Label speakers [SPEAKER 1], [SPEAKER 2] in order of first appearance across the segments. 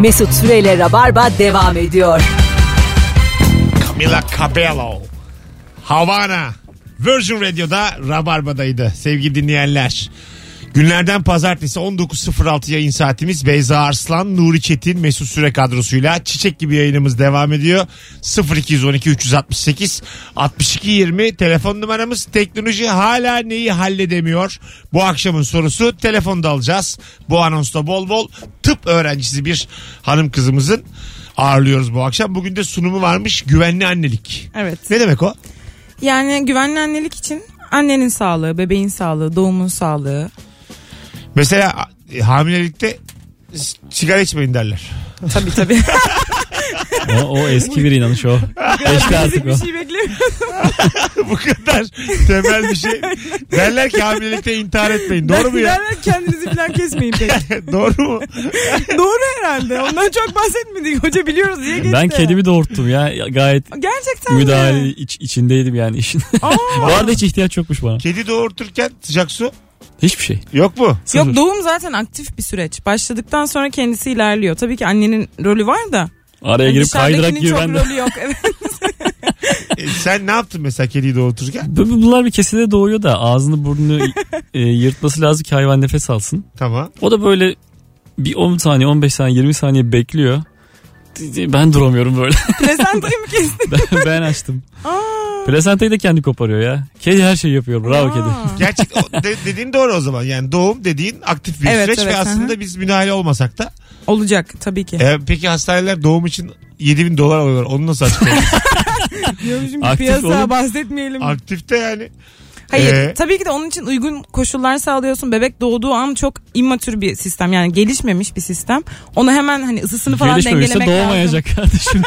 [SPEAKER 1] Mesut Süreyle Rabarba devam ediyor.
[SPEAKER 2] Camila Cabello. Havana. Virgin Radio'da Rabarba'daydı sevgili dinleyenler. Günlerden pazartesi 19.06 yayın saatimiz Beyza Arslan, Nuri Çetin, Mesut Süre kadrosuyla Çiçek gibi yayınımız devam ediyor. 0212 368 62 20 telefon numaramız teknoloji hala neyi halledemiyor? Bu akşamın sorusu telefonda alacağız. Bu anonsta bol bol tıp öğrencisi bir hanım kızımızın ağırlıyoruz bu akşam. Bugün de sunumu varmış güvenli annelik.
[SPEAKER 3] Evet.
[SPEAKER 2] Ne demek o?
[SPEAKER 3] Yani güvenli annelik için annenin sağlığı, bebeğin sağlığı, doğumun sağlığı.
[SPEAKER 2] Mesela e, hamilelikte s- sigara içmeyin derler.
[SPEAKER 3] Tabii tabii.
[SPEAKER 4] O, o eski bir inanış o. Geçti artık o.
[SPEAKER 3] bir şey beklemiyorum.
[SPEAKER 2] bu kadar temel bir şey. Derler ki hamilelikte intihar etmeyin. Doğru mu ya?
[SPEAKER 3] Derler kendinizi falan kesmeyin pek.
[SPEAKER 2] Doğru mu?
[SPEAKER 3] Doğru herhalde. Ondan çok bahsetmedik. Hoca biliyoruz diye geçti.
[SPEAKER 4] Ben kedimi doğurttum ya. Gayet
[SPEAKER 3] Gerçekten
[SPEAKER 4] müdahale
[SPEAKER 3] mi?
[SPEAKER 4] iç- içindeydim yani işin.
[SPEAKER 3] Aa.
[SPEAKER 4] Bu arada hiç ihtiyaç yokmuş bana.
[SPEAKER 2] Kedi doğurturken sıcak su
[SPEAKER 4] Hiçbir şey.
[SPEAKER 2] yok mu?
[SPEAKER 3] Yok doğum zaten aktif bir süreç. Başladıktan sonra kendisi ilerliyor. Tabii ki annenin rolü var da.
[SPEAKER 4] Araya girip
[SPEAKER 3] Hani Dışarıdakinin
[SPEAKER 4] kaydırak gibi
[SPEAKER 3] çok
[SPEAKER 4] ben de.
[SPEAKER 3] rolü yok. Evet.
[SPEAKER 2] E, sen ne yaptın mesela kediyi doğurturken?
[SPEAKER 4] Bu- bu- Bunlar bir kesede doğuyor da ağzını burnunu e, yırtması lazım ki hayvan nefes alsın.
[SPEAKER 2] Tamam.
[SPEAKER 4] O da böyle bir 10 saniye 15 saniye 20 saniye bekliyor. Ben duramıyorum böyle.
[SPEAKER 3] Plazentayı mı kestin?
[SPEAKER 4] Ben, ben açtım.
[SPEAKER 3] Aa.
[SPEAKER 4] Plasentayı da kendi koparıyor ya. Kedi her şeyi yapıyor. Bravo kedi.
[SPEAKER 3] Aa.
[SPEAKER 2] Gerçek o de- dediğin doğru o zaman. Yani doğum dediğin aktif bir
[SPEAKER 3] Evet,
[SPEAKER 2] süreç
[SPEAKER 3] evet,
[SPEAKER 2] ve
[SPEAKER 3] hı
[SPEAKER 2] aslında biz müdahale olmasak da.
[SPEAKER 3] Olacak tabii ki.
[SPEAKER 2] E, peki hastaneler doğum için 7000 dolar alıyorlar. Onu nasıl açıklıyorsun?
[SPEAKER 3] Diyormuşum ki
[SPEAKER 4] Aktif
[SPEAKER 3] piyasa
[SPEAKER 4] olun.
[SPEAKER 3] bahsetmeyelim.
[SPEAKER 2] Aktifte yani.
[SPEAKER 3] Hayır
[SPEAKER 2] Ee?
[SPEAKER 3] tabii ki de onun için uygun koşullar sağlıyorsun. Bebek doğduğu an çok immatür bir sistem yani gelişmemiş bir sistem. Onu hemen hani ısısını falan
[SPEAKER 4] Gelişmemişse
[SPEAKER 3] dengelemek lazım.
[SPEAKER 4] doğmayacak kardeşim.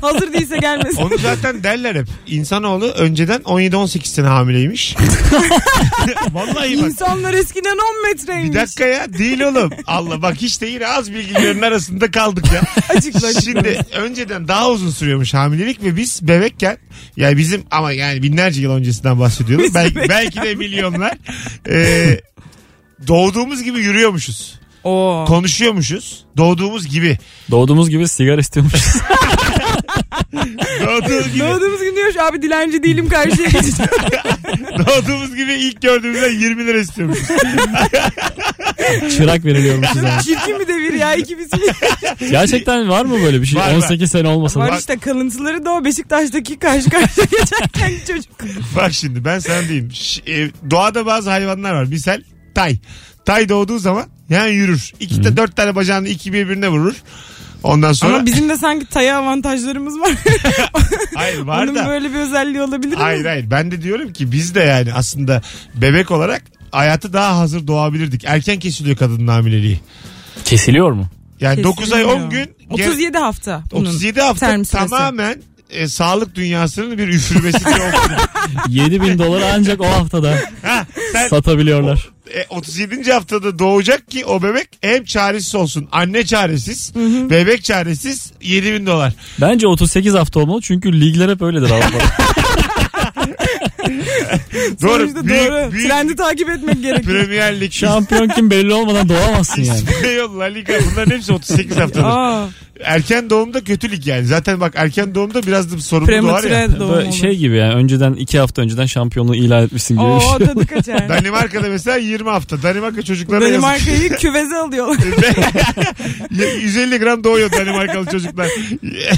[SPEAKER 3] Hazır değilse gelmesin.
[SPEAKER 2] Onu zaten derler hep. İnsanoğlu önceden 17-18 sene hamileymiş. Vallahi bak.
[SPEAKER 3] İnsanlar eskiden 10 metreymiş.
[SPEAKER 2] Bir dakika ya değil oğlum. Allah bak hiç de yine az bilgilerin arasında kaldık ya.
[SPEAKER 3] Açıkla, açıkla.
[SPEAKER 2] Şimdi önceden daha uzun sürüyormuş hamilelik ve biz bebekken yani bizim ama yani binlerce yıl öncesinden bahsediyorum.
[SPEAKER 3] Biz
[SPEAKER 2] belki,
[SPEAKER 3] bebekken.
[SPEAKER 2] belki de milyonlar. Ee, doğduğumuz gibi yürüyormuşuz.
[SPEAKER 3] Oo.
[SPEAKER 2] Konuşuyormuşuz. Doğduğumuz gibi.
[SPEAKER 4] Doğduğumuz gibi sigara istiyormuşuz.
[SPEAKER 2] Doğduğumuz gibi.
[SPEAKER 3] Doğduğumuz gün diyor abi dilenci değilim karşıya geçeceğim.
[SPEAKER 2] doğduğumuz gibi ilk gördüğümüzde 20 lira istiyormuşuz.
[SPEAKER 4] Çırak veriliyormuşuz yani.
[SPEAKER 3] Çirkin bir şey. devir ya ikimiz mi?
[SPEAKER 4] Gerçekten var mı böyle bir şey?
[SPEAKER 2] Var, var.
[SPEAKER 4] 18 sene olmasa da.
[SPEAKER 3] Var işte kalıntıları da o Beşiktaş'taki karşı karşıya geçerken çocuk.
[SPEAKER 2] Bak şimdi ben sana diyeyim. Ş- e, doğada bazı hayvanlar var. Misal tay. Tay doğduğu zaman yani yürür. İki de dört tane bacağını iki birbirine vurur. Ondan sonra
[SPEAKER 3] Ama bizim de sanki taya avantajlarımız var.
[SPEAKER 2] hayır var
[SPEAKER 3] Onun
[SPEAKER 2] da.
[SPEAKER 3] böyle bir özelliği olabilir mi?
[SPEAKER 2] Hayır hayır ben de diyorum ki biz de yani aslında bebek olarak hayatı daha hazır doğabilirdik. Erken kesiliyor kadının hamileliği.
[SPEAKER 4] Kesiliyor mu?
[SPEAKER 2] Yani 9 ay 10
[SPEAKER 3] Kesilmiyor.
[SPEAKER 2] gün gene-
[SPEAKER 3] 37 hafta. bunun
[SPEAKER 2] 37 hafta
[SPEAKER 3] term süresi.
[SPEAKER 2] tamamen e, sağlık dünyasının bir üfürmesi diye okudum.
[SPEAKER 4] 7000 doları ancak o haftada
[SPEAKER 2] Ha, sen
[SPEAKER 4] satabiliyorlar.
[SPEAKER 2] e, 37. haftada doğacak ki o bebek hem çaresiz olsun. Anne çaresiz, bebek çaresiz 7000 dolar.
[SPEAKER 4] Bence 38 hafta olmalı çünkü ligler hep öyledir Avrupa'da.
[SPEAKER 2] Doğru.
[SPEAKER 3] Sonuçta doğru. Trendi takip etmek gerekiyor.
[SPEAKER 2] Premier Lig,
[SPEAKER 4] Şampiyon kim belli olmadan doğamazsın yani.
[SPEAKER 2] Espanyol, La Liga bunların hepsi 38 haftadır.
[SPEAKER 3] Aa,
[SPEAKER 2] erken doğumda kötü lig yani. Zaten bak erken doğumda biraz da sorumlu doğar ya.
[SPEAKER 3] prematüre doğum
[SPEAKER 4] Böyle
[SPEAKER 3] olur.
[SPEAKER 4] şey gibi yani önceden 2 hafta önceden şampiyonluğu ilan etmişsin gibi bir
[SPEAKER 3] Oo
[SPEAKER 4] şey.
[SPEAKER 3] tadı kaçar.
[SPEAKER 2] Danimarka'da mesela 20 hafta. Danimarka çocuklarına yazık.
[SPEAKER 3] Danimarka'yı küveze alıyorlar.
[SPEAKER 2] 150 gram doğuyor Danimarkalı çocuklar.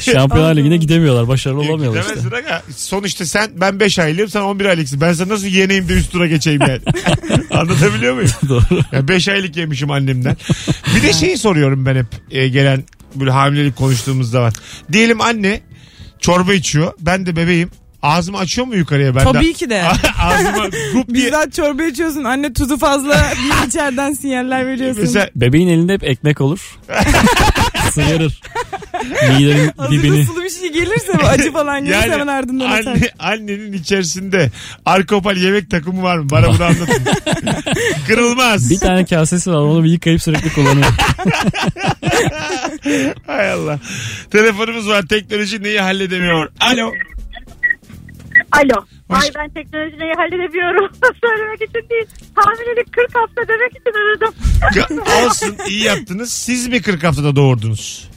[SPEAKER 4] Şampiyonlar Ligi'ne gidemiyorlar. Başarılı olamıyorlar işte.
[SPEAKER 2] Gidemezsin aga. Sonuçta sen ben 5 aylıyım sen 11 aylıksın. Ben sana nasıl yeneyim de üst tura geçeyim yani. Anlatabiliyor muyum?
[SPEAKER 4] Doğru.
[SPEAKER 2] Ya 5 aylık yemişim annemden. Bir de şeyi soruyorum ben hep e, gelen böyle hamilelik konuştuğumuzda var. Diyelim anne çorba içiyor. Ben de bebeğim. Ağzımı açıyor mu yukarıya ben
[SPEAKER 3] Tabii ki de.
[SPEAKER 2] Ağzıma gup diye.
[SPEAKER 3] Bizden çorba içiyorsun. Anne tuzu fazla. Bir içeriden sinyaller veriyorsun.
[SPEAKER 2] Mesela
[SPEAKER 4] Bebeğin elinde hep ekmek olur. Sıyırır. Midenin
[SPEAKER 3] Hazır
[SPEAKER 4] dibini.
[SPEAKER 3] sulu bir şey gelirse bu acı falan gelirse hemen ardından atar.
[SPEAKER 2] anne, annenin içerisinde arkopal yemek takımı var mı? Bana bunu anlatın. Kırılmaz.
[SPEAKER 4] Bir tane kasesi var onu bir yıkayıp sürekli kullanıyor.
[SPEAKER 2] Hay Allah. Telefonumuz var. Teknoloji neyi halledemiyor? Alo.
[SPEAKER 5] Alo.
[SPEAKER 2] Hoş-
[SPEAKER 5] Ay ben teknolojiyi halledebiliyorum. Söylemek için değil. Hamilelik 40 hafta demek için aradım.
[SPEAKER 2] Olsun iyi yaptınız. Siz mi 40 haftada doğurdunuz?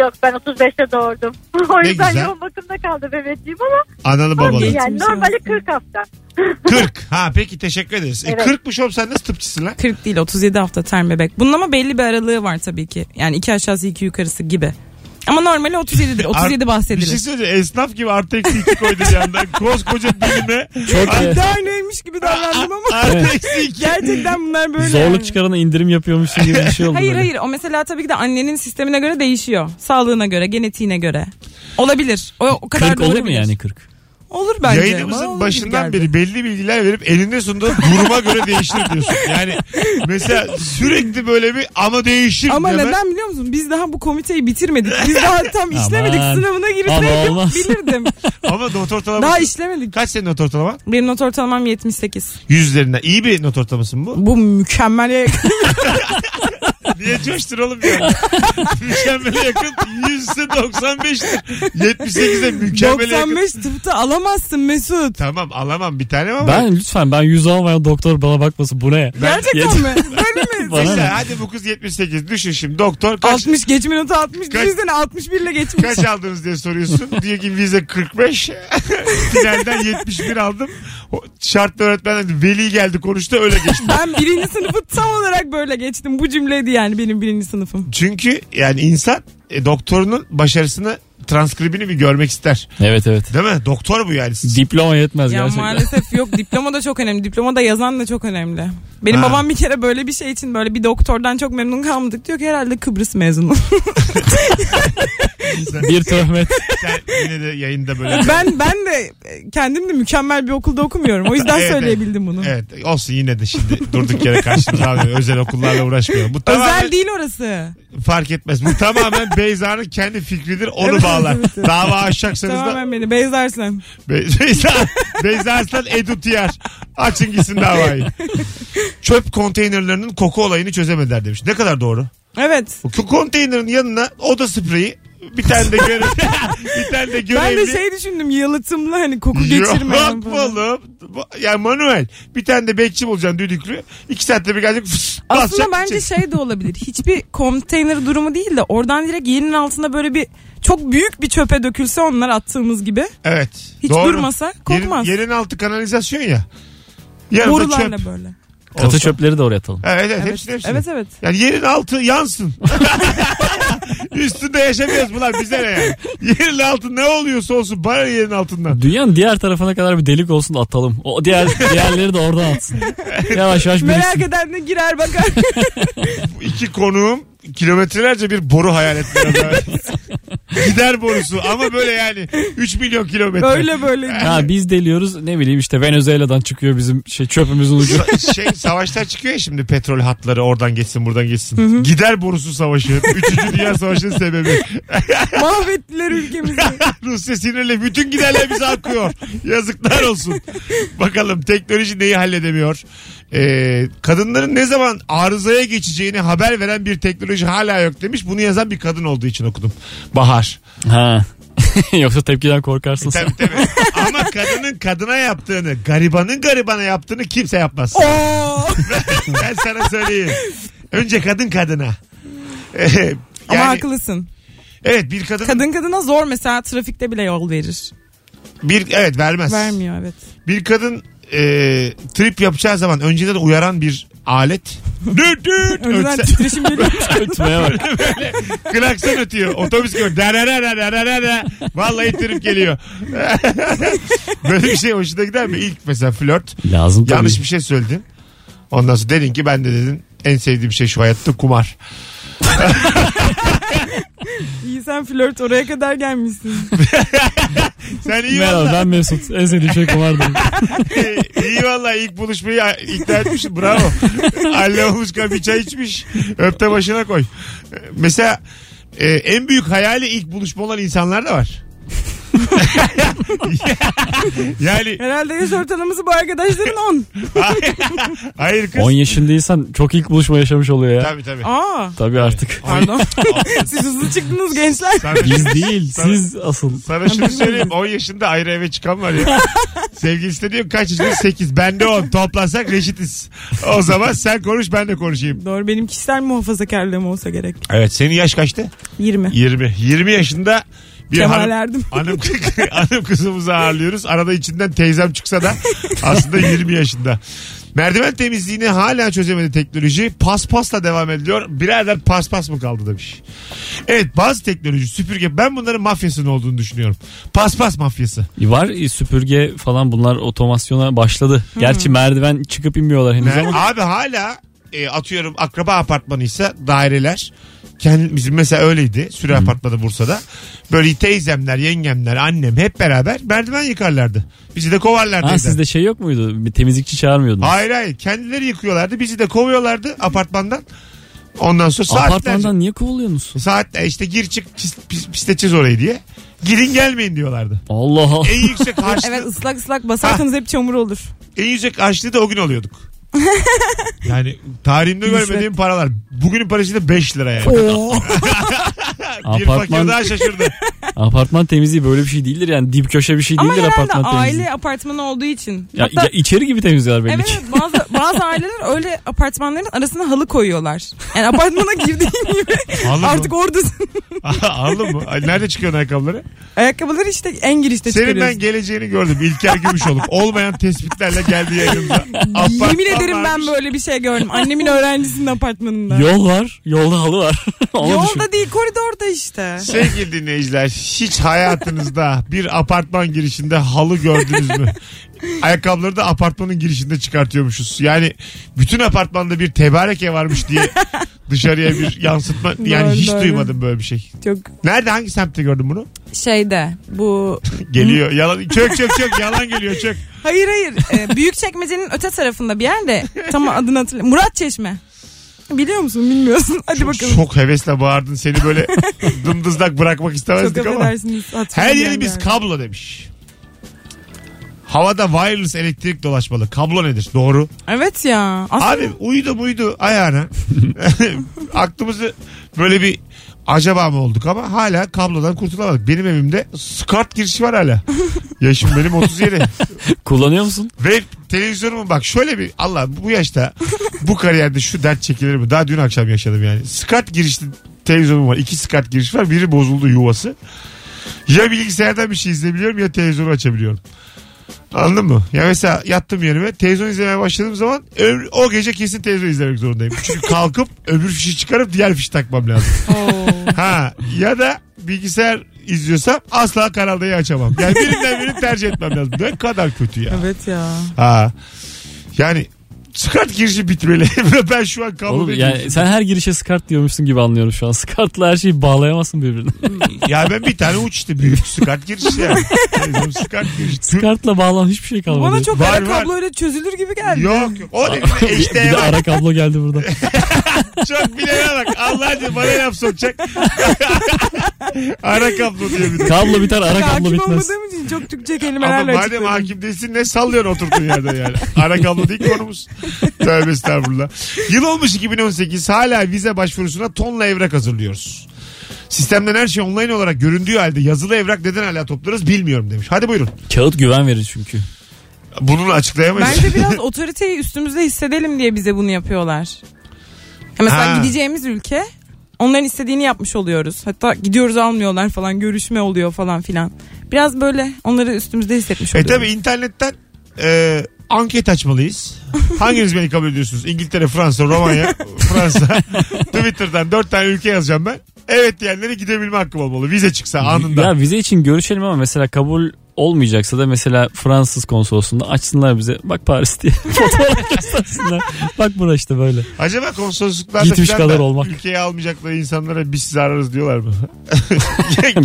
[SPEAKER 5] Yok ben 35'te doğurdum. o
[SPEAKER 2] Ne
[SPEAKER 5] yüzden
[SPEAKER 2] güzel.
[SPEAKER 5] yoğun bakımda kaldı bebeciğim ama
[SPEAKER 2] Analı
[SPEAKER 5] olsun
[SPEAKER 2] babalı.
[SPEAKER 5] yani
[SPEAKER 3] Geçmiş
[SPEAKER 5] normali
[SPEAKER 3] olsun.
[SPEAKER 5] 40 hafta.
[SPEAKER 2] 40. Ha peki teşekkür ederiz. E,
[SPEAKER 5] Evet.
[SPEAKER 2] 40'muş oğlum sen nasıl tıpçısın lan?
[SPEAKER 3] 40 değil 37 hafta term bebek. Bunun ama belli bir aralığı var tabii ki. Yani iki aşağısı iki yukarısı gibi. Ama normali 37'dir.
[SPEAKER 2] Art-
[SPEAKER 3] 37
[SPEAKER 2] Bir şey
[SPEAKER 3] bahsedilir.
[SPEAKER 2] söyleyeceğim. Esnaf gibi artı eksi 2 koydu bir yandan. Koskoca dilime.
[SPEAKER 4] Çok iyi.
[SPEAKER 2] şey
[SPEAKER 3] Daha neymiş gibi davrandım ama.
[SPEAKER 2] Artı eksi 2.
[SPEAKER 3] Gerçekten bunlar böyle. yani.
[SPEAKER 4] Zorluk çıkarana indirim yapıyormuşsun gibi bir şey oldu.
[SPEAKER 3] Hayır
[SPEAKER 4] böyle.
[SPEAKER 3] hayır o mesela tabii ki de annenin sistemine göre değişiyor. Sağlığına göre, genetiğine göre. Olabilir. O, o kadar
[SPEAKER 4] 40
[SPEAKER 3] da
[SPEAKER 4] olur mu
[SPEAKER 3] olabilir.
[SPEAKER 4] yani 40?
[SPEAKER 3] Olur bence. Bana olur
[SPEAKER 2] Yayınımızın
[SPEAKER 3] gibi
[SPEAKER 2] başından
[SPEAKER 3] geldi.
[SPEAKER 2] beri belli bilgiler verip elinde sunduğu duruma göre değişir diyorsun. Yani mesela sürekli böyle bir ama değişir
[SPEAKER 3] Ama
[SPEAKER 2] deme.
[SPEAKER 3] neden biliyor musun? Biz daha bu komiteyi bitirmedik. Biz daha tam işlemedik.
[SPEAKER 4] Aman.
[SPEAKER 3] Sınavına
[SPEAKER 4] Ama
[SPEAKER 3] girseydim
[SPEAKER 4] olmaz.
[SPEAKER 3] bilirdim.
[SPEAKER 2] Ama not ortalaması.
[SPEAKER 3] daha işlemedik.
[SPEAKER 2] Kaç senin not ortalaman?
[SPEAKER 3] Benim not ortalamam 78.
[SPEAKER 2] Yüz üzerinden. İyi bir not ortalaması mı bu?
[SPEAKER 3] Bu mükemmel. ya-
[SPEAKER 2] Niye coştun oğlum ya? Mükemmele yakın. Yüzde 95'tir. 78'e mükemmele yakın.
[SPEAKER 3] 95 tıpta alamazsın Mesut.
[SPEAKER 2] Tamam alamam bir tane ama.
[SPEAKER 4] Ben lütfen ben yüz almayan doktor bana bakmasın bu ne?
[SPEAKER 3] Gerçekten mi? Böyle mi?
[SPEAKER 4] Bana
[SPEAKER 2] Mesela
[SPEAKER 4] ne?
[SPEAKER 2] hadi bu kız 78 düşün şimdi doktor kaç,
[SPEAKER 3] 60 geçme notu 60.
[SPEAKER 2] Kaç-
[SPEAKER 3] Düşünsene 61 ile geçmiş.
[SPEAKER 2] kaç aldınız diye soruyorsun. Diyor ki vize 45 finalden 71 aldım. O Şartlı öğretmen veli geldi konuştu öyle geçti.
[SPEAKER 3] Ben birinci sınıfı tam olarak böyle geçtim. Bu cümleydi yani benim birinci sınıfım.
[SPEAKER 2] Çünkü yani insan e, doktorunun başarısını transkribini bir görmek ister.
[SPEAKER 4] Evet evet.
[SPEAKER 2] Değil mi? Doktor bu yani.
[SPEAKER 4] Diploma yetmez
[SPEAKER 3] Ya
[SPEAKER 4] gerçekten.
[SPEAKER 3] maalesef yok diploma da çok önemli. Diploma da yazan da çok önemli. Benim
[SPEAKER 2] Ha.
[SPEAKER 3] babam bir kere böyle bir şey için böyle bir doktordan çok memnun kalmadık. Diyor ki herhalde Kıbrıs mezunu.
[SPEAKER 4] Bir töhmet.
[SPEAKER 2] Sen yine de yayında böyle.
[SPEAKER 3] ben ben de kendim de mükemmel bir okulda okumuyorum. O yüzden
[SPEAKER 2] Evet,
[SPEAKER 3] söyleyebildim bunu.
[SPEAKER 2] Evet olsun yine de şimdi durduk yere karşımıza almıyor. Özel okullarla uğraşmıyor. Bu tamamen
[SPEAKER 3] Özel değil orası.
[SPEAKER 2] fark etmez. Bu tamamen Beyza'nın kendi fikridir. Onu
[SPEAKER 3] Evet,
[SPEAKER 2] bağlar.
[SPEAKER 3] evet, evet.
[SPEAKER 2] Dava açacaksanız da
[SPEAKER 3] Tamamen beni bezlersen.
[SPEAKER 2] Be- Beyza, Beyza Arslan Edu Tiyer. Açın gitsin davayı. Çöp konteynerlerinin koku olayını çözemediler demiş. Ne kadar doğru.
[SPEAKER 3] Evet.
[SPEAKER 2] Bu ko- konteynerin yanına oda spreyi bir tane de görevli. bir tane de görevli.
[SPEAKER 3] Ben de şey düşündüm yalıtımlı hani koku geçirmeyen.
[SPEAKER 2] Yok
[SPEAKER 3] falan.
[SPEAKER 2] oğlum. Bu- Ya manuel. Bir tane de bekçi bulacaksın düdüklü. İki saatte bir gelecek. fıs, basacak,
[SPEAKER 3] Aslında bence
[SPEAKER 2] gidecek.
[SPEAKER 3] şey de olabilir. Hiçbir konteyner durumu değil de oradan direkt yerinin altına böyle bir çok büyük bir çöpe dökülse onlar attığımız gibi.
[SPEAKER 2] Evet.
[SPEAKER 3] Hiç
[SPEAKER 2] doğru.
[SPEAKER 3] durmasa
[SPEAKER 2] Yerin-
[SPEAKER 3] kokmaz.
[SPEAKER 2] yerin, altı kanalizasyon ya. Yanında çöp.
[SPEAKER 3] Borularla böyle.
[SPEAKER 2] Olsun.
[SPEAKER 4] Katı çöpleri de oraya atalım.
[SPEAKER 2] Evet, evet, hepsini hepsini.
[SPEAKER 3] Evet evet.
[SPEAKER 2] Yani yerin altı yansın. Üstünde yaşamıyoruz bunlar bize ne yani. Yerin altı ne oluyorsa olsun bana ne yerin altından.
[SPEAKER 4] Dünyanın diğer tarafına kadar bir delik olsun da atalım. O diğer diğerleri de oradan atsın. Yavaş yavaş
[SPEAKER 3] Merak
[SPEAKER 4] biriksin.
[SPEAKER 3] eden de girer bakar.
[SPEAKER 2] Bu iki konuğum kilometrelerce bir boru hayal ettiler. Gider borusu ama böyle yani 3 milyon kilometre.
[SPEAKER 3] böyle böyle.
[SPEAKER 4] Ha, biz deliyoruz ne bileyim işte Venezuela'dan çıkıyor bizim şey çöpümüzün ucu.
[SPEAKER 2] Sa- şey savaşlar çıkıyor ya şimdi petrol hatları oradan geçsin buradan geçsin. Gider borusu savaşı. Üçüncü Dünya Savaşı'nın sebebi.
[SPEAKER 3] Mahvettiler ülkemizi.
[SPEAKER 2] Rusya sinirli. Bütün giderler bize akıyor. Yazıklar olsun. Bakalım teknoloji neyi halledemiyor? Ee, kadınların ne zaman arızaya geçeceğini haber veren bir teknoloji hala yok demiş. Bunu yazan bir kadın olduğu için okudum. Bahar.
[SPEAKER 4] Ha. Yoksa tepkiden
[SPEAKER 3] E,
[SPEAKER 4] korkarsın sen.
[SPEAKER 2] Tabii tabii. Ama kadının kadına yaptığını, garibanın garibana yaptığını kimse yapmaz.
[SPEAKER 3] Oo.
[SPEAKER 2] ben sana söyleyeyim. Önce kadın kadına. Ee,
[SPEAKER 3] Ama
[SPEAKER 2] yani-
[SPEAKER 3] haklısın.
[SPEAKER 2] Evet bir kadın,
[SPEAKER 3] Kadın kadına zor mesela trafikte bile yol verir.
[SPEAKER 2] bir evet vermez.
[SPEAKER 3] Vermiyor evet.
[SPEAKER 2] Bir kadın e, trip yapacağı zaman önceden uyaran bir alet. Düt düt
[SPEAKER 3] Önceden
[SPEAKER 2] ötse-
[SPEAKER 3] titreşim geliyor.
[SPEAKER 4] Ötmeye bak.
[SPEAKER 2] klakson ötüyor. Otobüs gibi. Darararararara. Vallahi trip geliyor. Böyle bir şey hoşuna gider mi? İlk mesela flört.
[SPEAKER 4] Lazım tabii.
[SPEAKER 2] Yanlış bir şey söyledin. Ondan sonra dedin ki ben de dedin en sevdiğim şey şu hayatta kumar.
[SPEAKER 3] İyi sen flört oraya kadar gelmişsin.
[SPEAKER 2] Sen iyi
[SPEAKER 4] Merhaba
[SPEAKER 2] valla.
[SPEAKER 4] ben Mesut. En sevdiğim şey kumardı.
[SPEAKER 2] iyi valla ilk buluşmayı ikna etmişsin. Bravo. Halle olmuş bir çay içmiş. Öpte başına koy. Mesela e, en büyük hayali ilk buluşma olan insanlar da var. Yani
[SPEAKER 3] Herhalde yaş ortalaması bu arkadaşların 10.
[SPEAKER 2] hayır kız.
[SPEAKER 4] 10 yaşındaysan çok ilk buluşma yaşamış oluyor ya. Tabii,
[SPEAKER 2] Tabii tabii.
[SPEAKER 3] Aa.
[SPEAKER 4] artık.
[SPEAKER 3] Pardon. Siz hızlı çıktınız gençler.
[SPEAKER 2] Sana,
[SPEAKER 4] Biz değil
[SPEAKER 2] Sana-
[SPEAKER 4] siz asıl.
[SPEAKER 2] sana şunu söyleyeyim 10 yaşında ayrı eve çıkan var ya. Sevgilisi de diyor kaç yaşında? 8. Ben de 10. Toplasak reşitiz. O zaman sen konuş ben de konuşayım.
[SPEAKER 3] Doğru benim kişisel muhafazakarlığım olsa gerek.
[SPEAKER 2] Evet senin yaş kaçtı?
[SPEAKER 3] 20.
[SPEAKER 2] 20. 20 yaşında bir
[SPEAKER 3] Kemal
[SPEAKER 2] hanım,
[SPEAKER 3] Erdim.
[SPEAKER 2] hanım, hanım kızımızı ağırlıyoruz. Arada içinden teyzem çıksa da aslında 20 yaşında. Merdiven temizliğini hala çözemedi teknoloji. Paspasla devam ediliyor. Birader paspas mı kaldı demiş. Evet bazı teknoloji süpürge. Ben bunların mafyasının olduğunu düşünüyorum. Paspas mafyası.
[SPEAKER 4] Var e, süpürge falan bunlar otomasyona başladı. Gerçi merdiven çıkıp inmiyorlar henüz
[SPEAKER 2] Mer-
[SPEAKER 4] ama.
[SPEAKER 2] Abi hala e, atıyorum akraba apartmanıysa daireler kendi bizim mesela öyleydi süre apartmanı Bursa'da. Böyle teyzemler, yengemler, annem hep beraber merdiven yıkarlardı. Bizi de kovarlardı.
[SPEAKER 4] Ha
[SPEAKER 2] evden.
[SPEAKER 4] sizde şey yok muydu? Bir temizlikçi çağırmıyordunuz.
[SPEAKER 2] Hayır hayır kendileri yıkıyorlardı. Bizi de kovuyorlardı apartmandan. Ondan sonra saatlerce.
[SPEAKER 4] Apartmandan niye kovuluyorsunuz?
[SPEAKER 2] Saatle işte gir çık pis, pis- pisleteceğiz orayı diye. Girin gelmeyin diyorlardı.
[SPEAKER 4] Allah Allah.
[SPEAKER 2] En yüksek harçlığı,
[SPEAKER 3] Evet ıslak ıslak basarsanız hep çamur olur.
[SPEAKER 2] en yüksek harçlığı da o gün alıyorduk. yani tarihimde
[SPEAKER 3] Rüşvet.
[SPEAKER 2] görmediğim paralar. Bugünün parasıyla 5 lira yani.
[SPEAKER 3] Oo.
[SPEAKER 2] Bir fakir
[SPEAKER 4] Apartman-
[SPEAKER 2] daha şaşırdı.
[SPEAKER 4] Apartman temizliği böyle bir şey değildir yani dip köşe bir şey
[SPEAKER 3] Ama
[SPEAKER 4] değildir
[SPEAKER 3] herhalde
[SPEAKER 4] apartman temizliği.
[SPEAKER 3] aile apartmanı olduğu için.
[SPEAKER 4] Ya,
[SPEAKER 3] Hatta-
[SPEAKER 4] ya içeri gibi temizliyorlar belli
[SPEAKER 3] Evet
[SPEAKER 4] ki.
[SPEAKER 3] evet, bazı, bazı aileler öyle apartmanların arasına halı koyuyorlar. Yani apartmana girdiğin gibi
[SPEAKER 2] Anladın
[SPEAKER 3] artık
[SPEAKER 2] mı?
[SPEAKER 3] oradasın.
[SPEAKER 2] Anladın mı? Ay, Nerede çıkıyorsun ayakkabıları?
[SPEAKER 3] Ayakkabıları işte en girişte
[SPEAKER 2] Senin ben
[SPEAKER 3] çıkarıyorsun.
[SPEAKER 2] geleceğini gördüm. İlker Gümüşoluk. Olmayan tespitlerle geldi yayınımıza. Apartman
[SPEAKER 3] Yemin ederim ben
[SPEAKER 2] varmış.
[SPEAKER 3] böyle bir şey gördüm. Annemin öğrencisinin apartmanında.
[SPEAKER 4] Yol var. Yolda halı var. Onu
[SPEAKER 3] Yolda
[SPEAKER 4] düşün.
[SPEAKER 3] değil koridorda işte.
[SPEAKER 2] Sevgili dinleyiciler hiç hayatınızda bir apartman girişinde halı gördünüz mü? Ayakkabıları da apartmanın girişinde çıkartıyormuşuz. Yani bütün apartmanda bir tebareke varmış diye dışarıya bir yansıtma. Yani
[SPEAKER 3] Doğru,
[SPEAKER 2] hiç
[SPEAKER 3] doğru.
[SPEAKER 2] duymadım böyle bir şey.
[SPEAKER 3] Çok
[SPEAKER 2] Nerede hangi semtte gördün bunu?
[SPEAKER 3] şeyde bu
[SPEAKER 2] Geliyor. Yalan, çök çök çök yalan geliyor çök.
[SPEAKER 3] hayır hayır e, büyük çekmecenin öte tarafında bir yerde tam adını hatırlamıyorum. Murat Çeşme. Biliyor musun bilmiyorsun hadi bakalım. Çok,
[SPEAKER 2] Çok hevesle bağırdın. Seni böyle dımdızlak bırakmak istemezdik ama.
[SPEAKER 3] affedersiniz.
[SPEAKER 2] Her
[SPEAKER 3] hatırlamıyorum
[SPEAKER 2] yerimiz
[SPEAKER 3] yani.
[SPEAKER 2] kablo demiş. Havada wireless elektrik dolaşmalı. Kablo nedir? Doğru.
[SPEAKER 3] Evet ya. Aslında
[SPEAKER 2] Abi uyudu muydu ayağına. Aklımızı böyle bir acaba mı olduk ama hala kablodan kurtulamadık. Benim evimde skart girişi var hala. Yaşım benim 37.
[SPEAKER 4] Kullanıyor musun?
[SPEAKER 2] Ve televizyonumun bak şöyle bir Allah bu yaşta bu kariyerde şu dert çekilir mi? Daha dün akşam yaşadım yani. Skat girişli televizyonum var. İki skat giriş var. Biri bozuldu yuvası. Ya bilgisayardan bir şey izleyebiliyorum ya televizyonu açabiliyorum. Anladın mı? Ya mesela yattım yerime televizyon izlemeye başladığım zaman öbür- o gece kesin televizyon izlemek zorundayım. Çünkü kalkıp öbür fişi çıkarıp diğer fişi takmam lazım.
[SPEAKER 3] Oo.
[SPEAKER 2] Ha ya da bilgisayar izliyorsam asla Kanal D'yi açamam. Yani birinden birini tercih etmem lazım. Ne kadar kötü ya.
[SPEAKER 3] evet ya.
[SPEAKER 2] Ha. Yani skart girişi bitmeli. ben şu an kabul
[SPEAKER 4] Oğlum,
[SPEAKER 2] ediyorum.
[SPEAKER 4] yani sen her girişe skart diyormuşsun gibi anlıyorum şu an. Skartla her şeyi bağlayamazsın birbirine.
[SPEAKER 2] Ya ben bir tane uçtu büyük skart girişi yani. Televizyon skart girişi. Tü-
[SPEAKER 4] Skartla bağlan hiçbir şey kalmadı.
[SPEAKER 3] Bana çok
[SPEAKER 2] Var,
[SPEAKER 3] ara
[SPEAKER 2] var.
[SPEAKER 3] kabloyla çözülür gibi geldi.
[SPEAKER 2] Yok yok. O ne?
[SPEAKER 4] bir,
[SPEAKER 2] işte
[SPEAKER 4] bir de ara kablo geldi burada.
[SPEAKER 2] çok bilene bak. Allah'ım bana laf sokacak. Ara kablo diyor bir de.
[SPEAKER 4] Kablo biter ara kablo
[SPEAKER 3] Hakim
[SPEAKER 4] bitmez.
[SPEAKER 3] olmadığım için çok Türkçe
[SPEAKER 2] Ama
[SPEAKER 3] kelimelerle
[SPEAKER 2] madem
[SPEAKER 3] açıkladım.
[SPEAKER 2] hakim değilsin ne sallıyorsun oturduğun yerde yani. Ara kablo değil ki konumuz. Tövbe estağfurullah. Yıl olmuş 2018 hala vize başvurusuna tonla evrak hazırlıyoruz. Sistemden her şey online olarak göründüğü halde yazılı evrak neden hala toplarız bilmiyorum demiş. Hadi buyurun.
[SPEAKER 4] Kağıt güven verir çünkü.
[SPEAKER 2] Bunu açıklayamayız.
[SPEAKER 3] Bence biraz otoriteyi üstümüzde hissedelim diye bize bunu yapıyorlar. Ya Mesela
[SPEAKER 2] Ha.
[SPEAKER 3] gideceğimiz ülke onların istediğini yapmış oluyoruz. Hatta gidiyoruz almıyorlar falan görüşme oluyor falan filan. Biraz böyle onları üstümüzde hissetmiş
[SPEAKER 2] E
[SPEAKER 3] oluyoruz.
[SPEAKER 2] tabi internetten e, anket açmalıyız. Hanginiz beni kabul ediyorsunuz? İngiltere, Fransa, Romanya, Fransa. Twitter'dan dört tane ülke yazacağım ben. Evet diyenlere gidebilme hakkım olmalı. Vize çıksa anında.
[SPEAKER 4] Ya vize için görüşelim ama mesela kabul olmayacaksa da mesela Fransız konsolosluğunda açsınlar bize. Bak Paris diye fotoğraf göstersinler. Bak bura işte böyle.
[SPEAKER 2] Acaba konsolosluklarda
[SPEAKER 4] Gitmiş
[SPEAKER 2] filan da
[SPEAKER 4] kadar olmak.
[SPEAKER 2] ülkeye almayacakları insanlara biz sizi ararız diyorlar mı?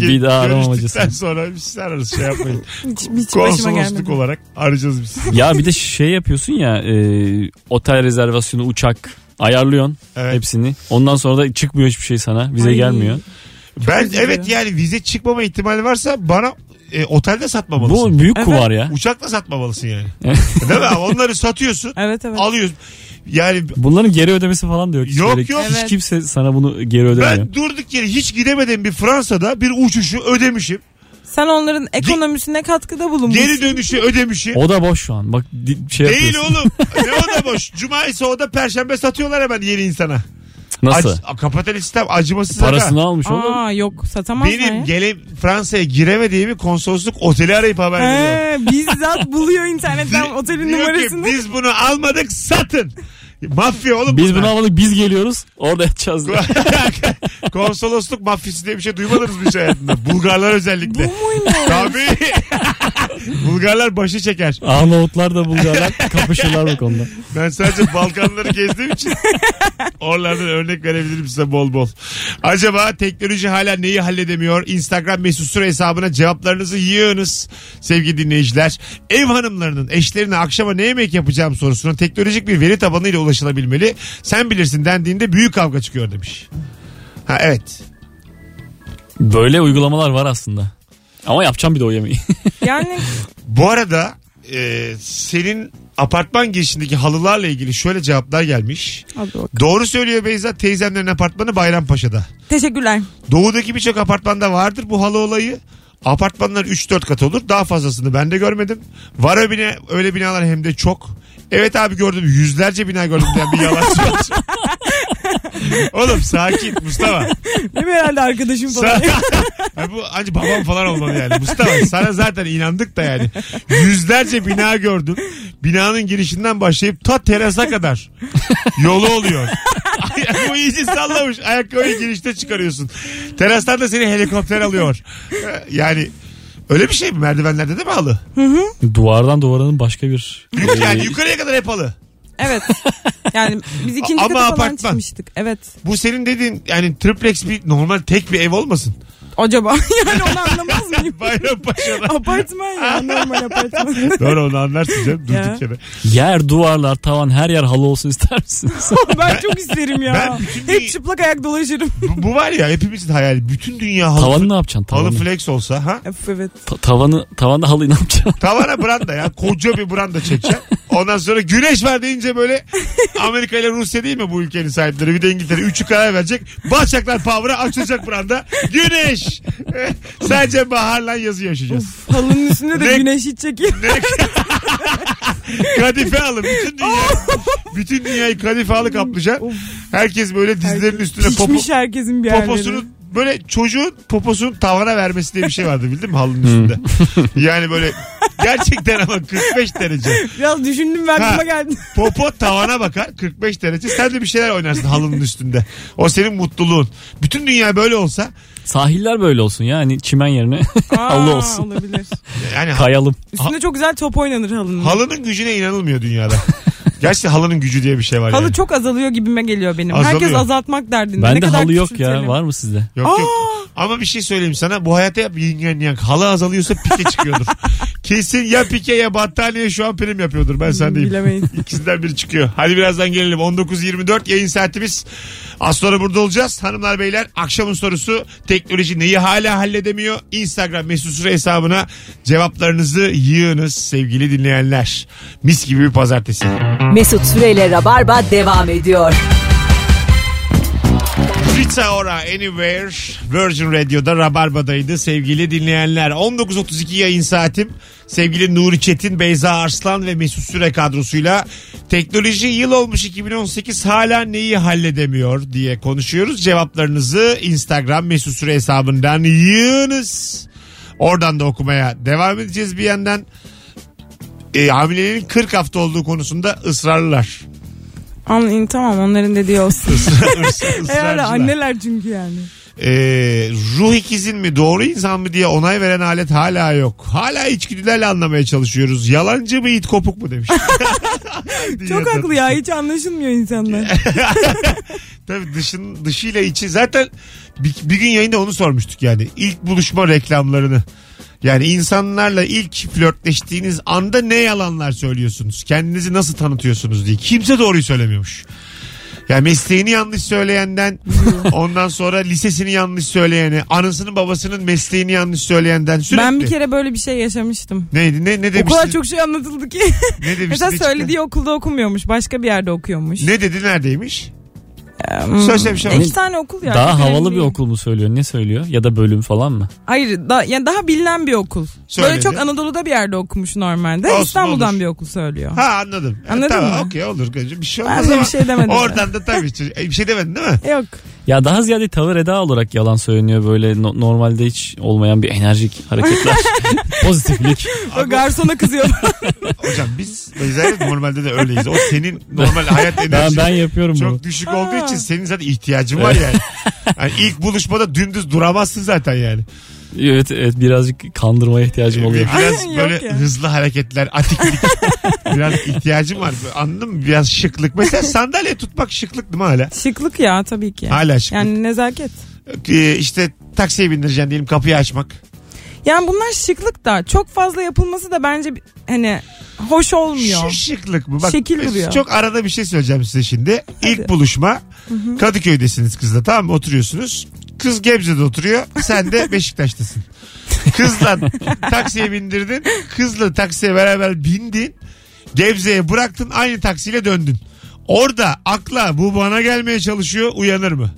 [SPEAKER 4] Bir daha aramam
[SPEAKER 2] Görüştükten
[SPEAKER 4] acısı.
[SPEAKER 2] sonra biz sizi ararız şey yapmayın.
[SPEAKER 3] Hiç, hiç başıma
[SPEAKER 2] Konsolosluk
[SPEAKER 3] gelmedi.
[SPEAKER 2] olarak arayacağız biz. sizi.
[SPEAKER 4] Ya bir de şey yapıyorsun ya e, otel rezervasyonu uçak ayarlıyorsun
[SPEAKER 2] Evet.
[SPEAKER 4] hepsini. Ondan sonra da çıkmıyor hiçbir şey sana. Vize
[SPEAKER 3] Ay.
[SPEAKER 4] gelmiyor.
[SPEAKER 2] ben
[SPEAKER 3] üzücü.
[SPEAKER 2] evet yani vize çıkmama ihtimali varsa bana e, otelde satmamalısın.
[SPEAKER 4] Bu büyük
[SPEAKER 3] Evet.
[SPEAKER 4] kuvar ya.
[SPEAKER 2] Uçakla satmamalısın yani. Değil mi? Onları satıyorsun.
[SPEAKER 3] Evet evet.
[SPEAKER 2] Alıyorsun. Yani
[SPEAKER 4] Bunların geri ödemesi falan da yok. Hiç
[SPEAKER 2] Yok,
[SPEAKER 4] böyle
[SPEAKER 2] yok.
[SPEAKER 4] Hiç
[SPEAKER 3] Evet.
[SPEAKER 4] kimse sana bunu geri ödemiyor.
[SPEAKER 2] ben durduk yere hiç gidemediğim bir Fransa'da bir uçuşu ödemişim.
[SPEAKER 3] Sen onların ekonomisine katkıda bulunmuşsun.
[SPEAKER 2] Geri dönüşü ödemişim.
[SPEAKER 4] O da boş şu an. Bak di- şey
[SPEAKER 2] Değil
[SPEAKER 4] yapıyorsun.
[SPEAKER 2] oğlum. ne o da boş. Cuma ise o da perşembe satıyorlar hemen yeni insana.
[SPEAKER 4] Nasıl?
[SPEAKER 2] Ac- kapitalist sistem acımasız.
[SPEAKER 4] Parasını
[SPEAKER 2] aga.
[SPEAKER 4] almış oğlum.
[SPEAKER 3] Aa yok satamazlar
[SPEAKER 2] Benim
[SPEAKER 3] ya.
[SPEAKER 2] gele Fransa'ya giremediğimi konsolosluk oteli arayıp haber veriyor.
[SPEAKER 3] He, bizzat buluyor internetten
[SPEAKER 2] Di-
[SPEAKER 3] otelin
[SPEAKER 2] diyor ki,
[SPEAKER 3] numarasını.
[SPEAKER 2] biz bunu almadık satın. Mafya oğlum.
[SPEAKER 4] Biz bunu
[SPEAKER 2] bunlar.
[SPEAKER 4] almadık biz geliyoruz. Orada yatacağız.
[SPEAKER 2] Konsolosluk mafyası diye bir şey duymadınız mı hiç hayatında? Bulgarlar
[SPEAKER 3] Bu
[SPEAKER 2] özellikle.
[SPEAKER 3] muymuş?
[SPEAKER 2] Tabii. Bulgarlar başı çeker.
[SPEAKER 4] Arnavutlar da Bulgarlar kapışırlar bu konuda.
[SPEAKER 2] Ben sadece Balkanları gezdiğim için oralardan örnek verebilirim size bol bol. Acaba teknoloji hala neyi halledemiyor? Instagram mesut süre hesabına cevaplarınızı yığınız sevgili dinleyiciler. Ev hanımlarının eşlerine akşama ne yemek yapacağım sorusuna teknolojik bir veri tabanıyla ulaşılabilmeli. Sen bilirsin dendiğinde büyük kavga çıkıyor demiş. Ha evet.
[SPEAKER 4] Böyle uygulamalar var aslında. Ama yapacağım bir de o yemeği.
[SPEAKER 3] Yani
[SPEAKER 2] Bu arada e, senin apartman girişindeki halılarla ilgili şöyle cevaplar gelmiş.
[SPEAKER 3] Hadi bakalım.
[SPEAKER 2] Doğru söylüyor Beyza teyzemlerin apartmanı Bayrampaşa'da.
[SPEAKER 3] Teşekkürler.
[SPEAKER 2] Doğudaki birçok apartmanda vardır bu halı olayı. Apartmanlar 3-4 kat olur. Daha fazlasını ben de görmedim. Var öyle, bina, öyle binalar hem de çok. Evet abi gördüm. Yüzlerce bina gördüm diyen bir yalan söz. Oğlum sakin Mustafa.
[SPEAKER 3] Değil mi herhalde arkadaşım falan?
[SPEAKER 2] Sa- Ya bu ancak babam falan olmalı yani. Mustafa sana zaten inandık da yani. Yüzlerce bina gördüm. Binanın girişinden başlayıp ta terasa kadar yolu oluyor. Ay- bu iyice sallamış. Ayakkabıyı girişte çıkarıyorsun. Terastan da seni helikopter alıyor. Ee, Yani öyle bir şey mi? Merdivenlerde de mi halı?
[SPEAKER 4] Duvardan duvaranın başka bir...
[SPEAKER 2] Yani yukarıya kadar hep halı.
[SPEAKER 3] evet. Yani biz ikinci
[SPEAKER 2] Ama
[SPEAKER 3] kata falan
[SPEAKER 2] apartman.
[SPEAKER 3] çıkmıştık. Evet.
[SPEAKER 2] Bu senin dediğin yani triplex bir normal tek bir ev olmasın.
[SPEAKER 3] Acaba yani onu anlamaz mıyım?
[SPEAKER 2] Bayrampaşa'da.
[SPEAKER 3] apartman ya normal apartman.
[SPEAKER 2] Doğru onu anlarsın canım
[SPEAKER 3] Ya.
[SPEAKER 2] durduk yere.
[SPEAKER 4] Yer, duvarlar, tavan her yer halı olsun ister misiniz?
[SPEAKER 3] ben çok isterim ya.
[SPEAKER 2] Ben bütün bir-
[SPEAKER 3] Hep çıplak ayak dolaşırım.
[SPEAKER 2] Bu, bu var ya hepimizin hayali. Bütün dünya halı.
[SPEAKER 4] tavanı ne yapacaksın? Tavanı,
[SPEAKER 2] Halı flex olsa ha.
[SPEAKER 3] Öf, evet.
[SPEAKER 4] Ta- tavanı, tavanda halıyı ne yapacaksın?
[SPEAKER 2] Tavana branda ya. Koca bir branda çekeceksin. Ondan sonra güneş var deyince böyle Amerika ile Rusya değil mi bu ülkenin sahipleri? Bir de İngiltere. Üçü karar verecek. Basacaklar power'a açılacak branda. Güneş. Sadece baharla yazı yaşayacağız.
[SPEAKER 3] Uf, halının üstünde de
[SPEAKER 2] Ne-
[SPEAKER 3] güneş hiç çekiyor.
[SPEAKER 2] Kadife alın. Bütün dünya, bütün dünyayı kadife alı kaplayacak.
[SPEAKER 3] Of.
[SPEAKER 2] Herkes böyle dizlerinin üstüne popo,
[SPEAKER 3] Pişmiş herkesin bir yerleri.
[SPEAKER 2] poposunu böyle çocuğun poposunu tavana vermesi diye bir şey vardı bildin mi halının üstünde.
[SPEAKER 3] Hmm.
[SPEAKER 2] yani böyle gerçekten ama 45 derece.
[SPEAKER 3] Biraz düşündüm ben
[SPEAKER 2] Ha.
[SPEAKER 3] aklıma geldi.
[SPEAKER 2] Popo tavana bakar 45 derece. Sen de bir şeyler oynarsın halının üstünde. O senin mutluluğun. Bütün dünya böyle olsa
[SPEAKER 4] Sahiller böyle olsun yani çimen yerine halı
[SPEAKER 3] Aa,
[SPEAKER 4] olsun.
[SPEAKER 3] Olabilir.
[SPEAKER 2] yani ha-
[SPEAKER 4] Kayalım.
[SPEAKER 3] Üstünde çok güzel top oynanır halının.
[SPEAKER 2] halının gücüne inanılmıyor dünyada. Gerçi halının gücü diye bir şey var
[SPEAKER 3] Halı
[SPEAKER 2] yani.
[SPEAKER 3] çok azalıyor gibime geliyor benim.
[SPEAKER 2] Azalıyor.
[SPEAKER 3] Herkes azaltmak derdinde. Ne
[SPEAKER 4] Bende
[SPEAKER 3] kadar
[SPEAKER 4] halı yok
[SPEAKER 3] küçültelim.
[SPEAKER 4] ya var mı sizde?
[SPEAKER 2] Yok yok. Ama bir şey söyleyeyim sana. Bu hayatta hep yin yang yang. Halı azalıyorsa pike çıkıyordur. Kesin ya pike ya battaniye şu an prim yapıyordur. Ben
[SPEAKER 3] Hmm,
[SPEAKER 2] sana diyeyim.
[SPEAKER 3] Bilemeyiz.
[SPEAKER 2] İkisinden biri çıkıyor. Hadi birazdan gelelim. 19.24 yayın saatimiz. Az sonra burada olacağız. Hanımlar beyler akşamın sorusu teknoloji neyi hala halledemiyor? Instagram mesut süre hesabına cevaplarınızı yığınız sevgili dinleyenler. Mis gibi bir pazartesi.
[SPEAKER 1] Mesut Süreyle Rabarba devam ediyor.
[SPEAKER 2] Rita Ora Anywhere Virgin Radio'da Rabarba'daydı sevgili dinleyenler. 19.32 yayın saatim. Sevgili Nuri Çetin, Beyza Arslan ve Mesut Süre kadrosuyla teknoloji yıl olmuş 2018 hala neyi halledemiyor diye konuşuyoruz. Cevaplarınızı Instagram Mesut Süre hesabından yığınız. Oradan da okumaya devam edeceğiz bir yandan. E, hamileliğin 40 hafta olduğu konusunda ısrarlılar.
[SPEAKER 3] Anlayın tamam onların dediği olsun. Herhalde
[SPEAKER 2] Israrcılar.
[SPEAKER 3] anneler çünkü yani.
[SPEAKER 2] Ee, ruh ikizin mi doğru insan mı diye onay veren alet hala yok. Hala içgüdülerle anlamaya çalışıyoruz. Yalancı mı it kopuk mu demiş.
[SPEAKER 3] Çok haklı ya hiç anlaşılmıyor insanlar.
[SPEAKER 2] Tabii dışın, dışıyla içi zaten bir, bir gün yayında onu sormuştuk yani. İlk buluşma reklamlarını. Yani insanlarla ilk flörtleştiğiniz anda ne yalanlar söylüyorsunuz? Kendinizi nasıl tanıtıyorsunuz diye. Kimse doğruyu söylemiyormuş. Yani mesleğini yanlış söyleyenden ondan sonra lisesini yanlış söyleyene anasının babasının mesleğini yanlış söyleyenden sürekli.
[SPEAKER 3] Ben bir kere böyle bir şey yaşamıştım.
[SPEAKER 2] Neydi ne, ne
[SPEAKER 3] O kadar
[SPEAKER 2] demiştin?
[SPEAKER 3] çok şey anlatıldı ki.
[SPEAKER 2] ne demiştin?
[SPEAKER 3] Mesela
[SPEAKER 2] Ne
[SPEAKER 3] söylediği okulda okumuyormuş. Başka bir yerde okuyormuş.
[SPEAKER 2] çıktı? Ne dedi neredeymiş?
[SPEAKER 3] Hmm.
[SPEAKER 2] Söyle bir şey var.
[SPEAKER 3] İki tane okul yani.
[SPEAKER 4] Daha
[SPEAKER 3] Bilemedim.
[SPEAKER 4] havalı bir okul mu söylüyor? Ne söylüyor? Ya da bölüm falan mı?
[SPEAKER 3] Hayır da, yani daha bilinen bir okul.
[SPEAKER 2] Söyledi.
[SPEAKER 3] Böyle çok Anadolu'da bir yerde okumuş normalde.
[SPEAKER 2] Olsun,
[SPEAKER 3] İstanbul'dan
[SPEAKER 2] olur.
[SPEAKER 3] bir okul söylüyor.
[SPEAKER 2] Ha anladım. Ha,
[SPEAKER 3] Anladın
[SPEAKER 2] tamam,
[SPEAKER 3] mı?
[SPEAKER 2] Okey olur. Bir şey
[SPEAKER 3] Ben
[SPEAKER 2] olmaz
[SPEAKER 3] de bir
[SPEAKER 2] ama
[SPEAKER 3] şey demedim.
[SPEAKER 2] Oradan da tabii. ki- E, Bir şey demedin değil mi?
[SPEAKER 3] Yok.
[SPEAKER 4] Ya daha ziyade tavır eda olarak yalan söyleniyor böyle no- normalde hiç olmayan bir enerjik hareketler. Pozitiflik.
[SPEAKER 3] O garsona kızıyor.
[SPEAKER 2] Hocam biz Beyza'yla normalde de öyleyiz. O senin normal hayat
[SPEAKER 4] Ben,
[SPEAKER 2] enerjisi.
[SPEAKER 4] ben yapıyorum bunu.
[SPEAKER 2] çok düşük olduğu için senin zaten ihtiyacın var yani. yani ilk buluşmada dümdüz duramazsın zaten yani.
[SPEAKER 4] Evet, evet birazcık kandırmaya ihtiyacım oluyor.
[SPEAKER 2] Biraz
[SPEAKER 3] Yok
[SPEAKER 2] böyle
[SPEAKER 3] ya.
[SPEAKER 2] hızlı hareketler, atiklik. biraz ihtiyacım var. Anladın mı? Biraz şıklık. Mesela sandalye tutmak şıklık değil mi hala?
[SPEAKER 3] Şıklık ya tabii ki.
[SPEAKER 2] Hala şıklık.
[SPEAKER 3] Yani nezaket.
[SPEAKER 2] Ee, işte taksiye bindireceksin diyelim kapıyı açmak.
[SPEAKER 3] Yani bunlar şıklık da çok fazla yapılması da bence bir- hani hoş olmuyor.
[SPEAKER 2] Şu şıklık mı? Bak, e,
[SPEAKER 3] Şekil duruyor.
[SPEAKER 2] Çok arada bir şey söyleyeceğim size şimdi. İlk buluşma Kadıköy'desiniz kızla tamam mı? Oturuyorsunuz. Kız Gebze'de oturuyor. Sen de Beşiktaş'tasın. Kızla taksiye bindirdin. Kızla taksiye beraber bindin. Gebze'ye bıraktın. Aynı taksiyle döndün. Orada akla bu bana gelmeye çalışıyor uyanır mı?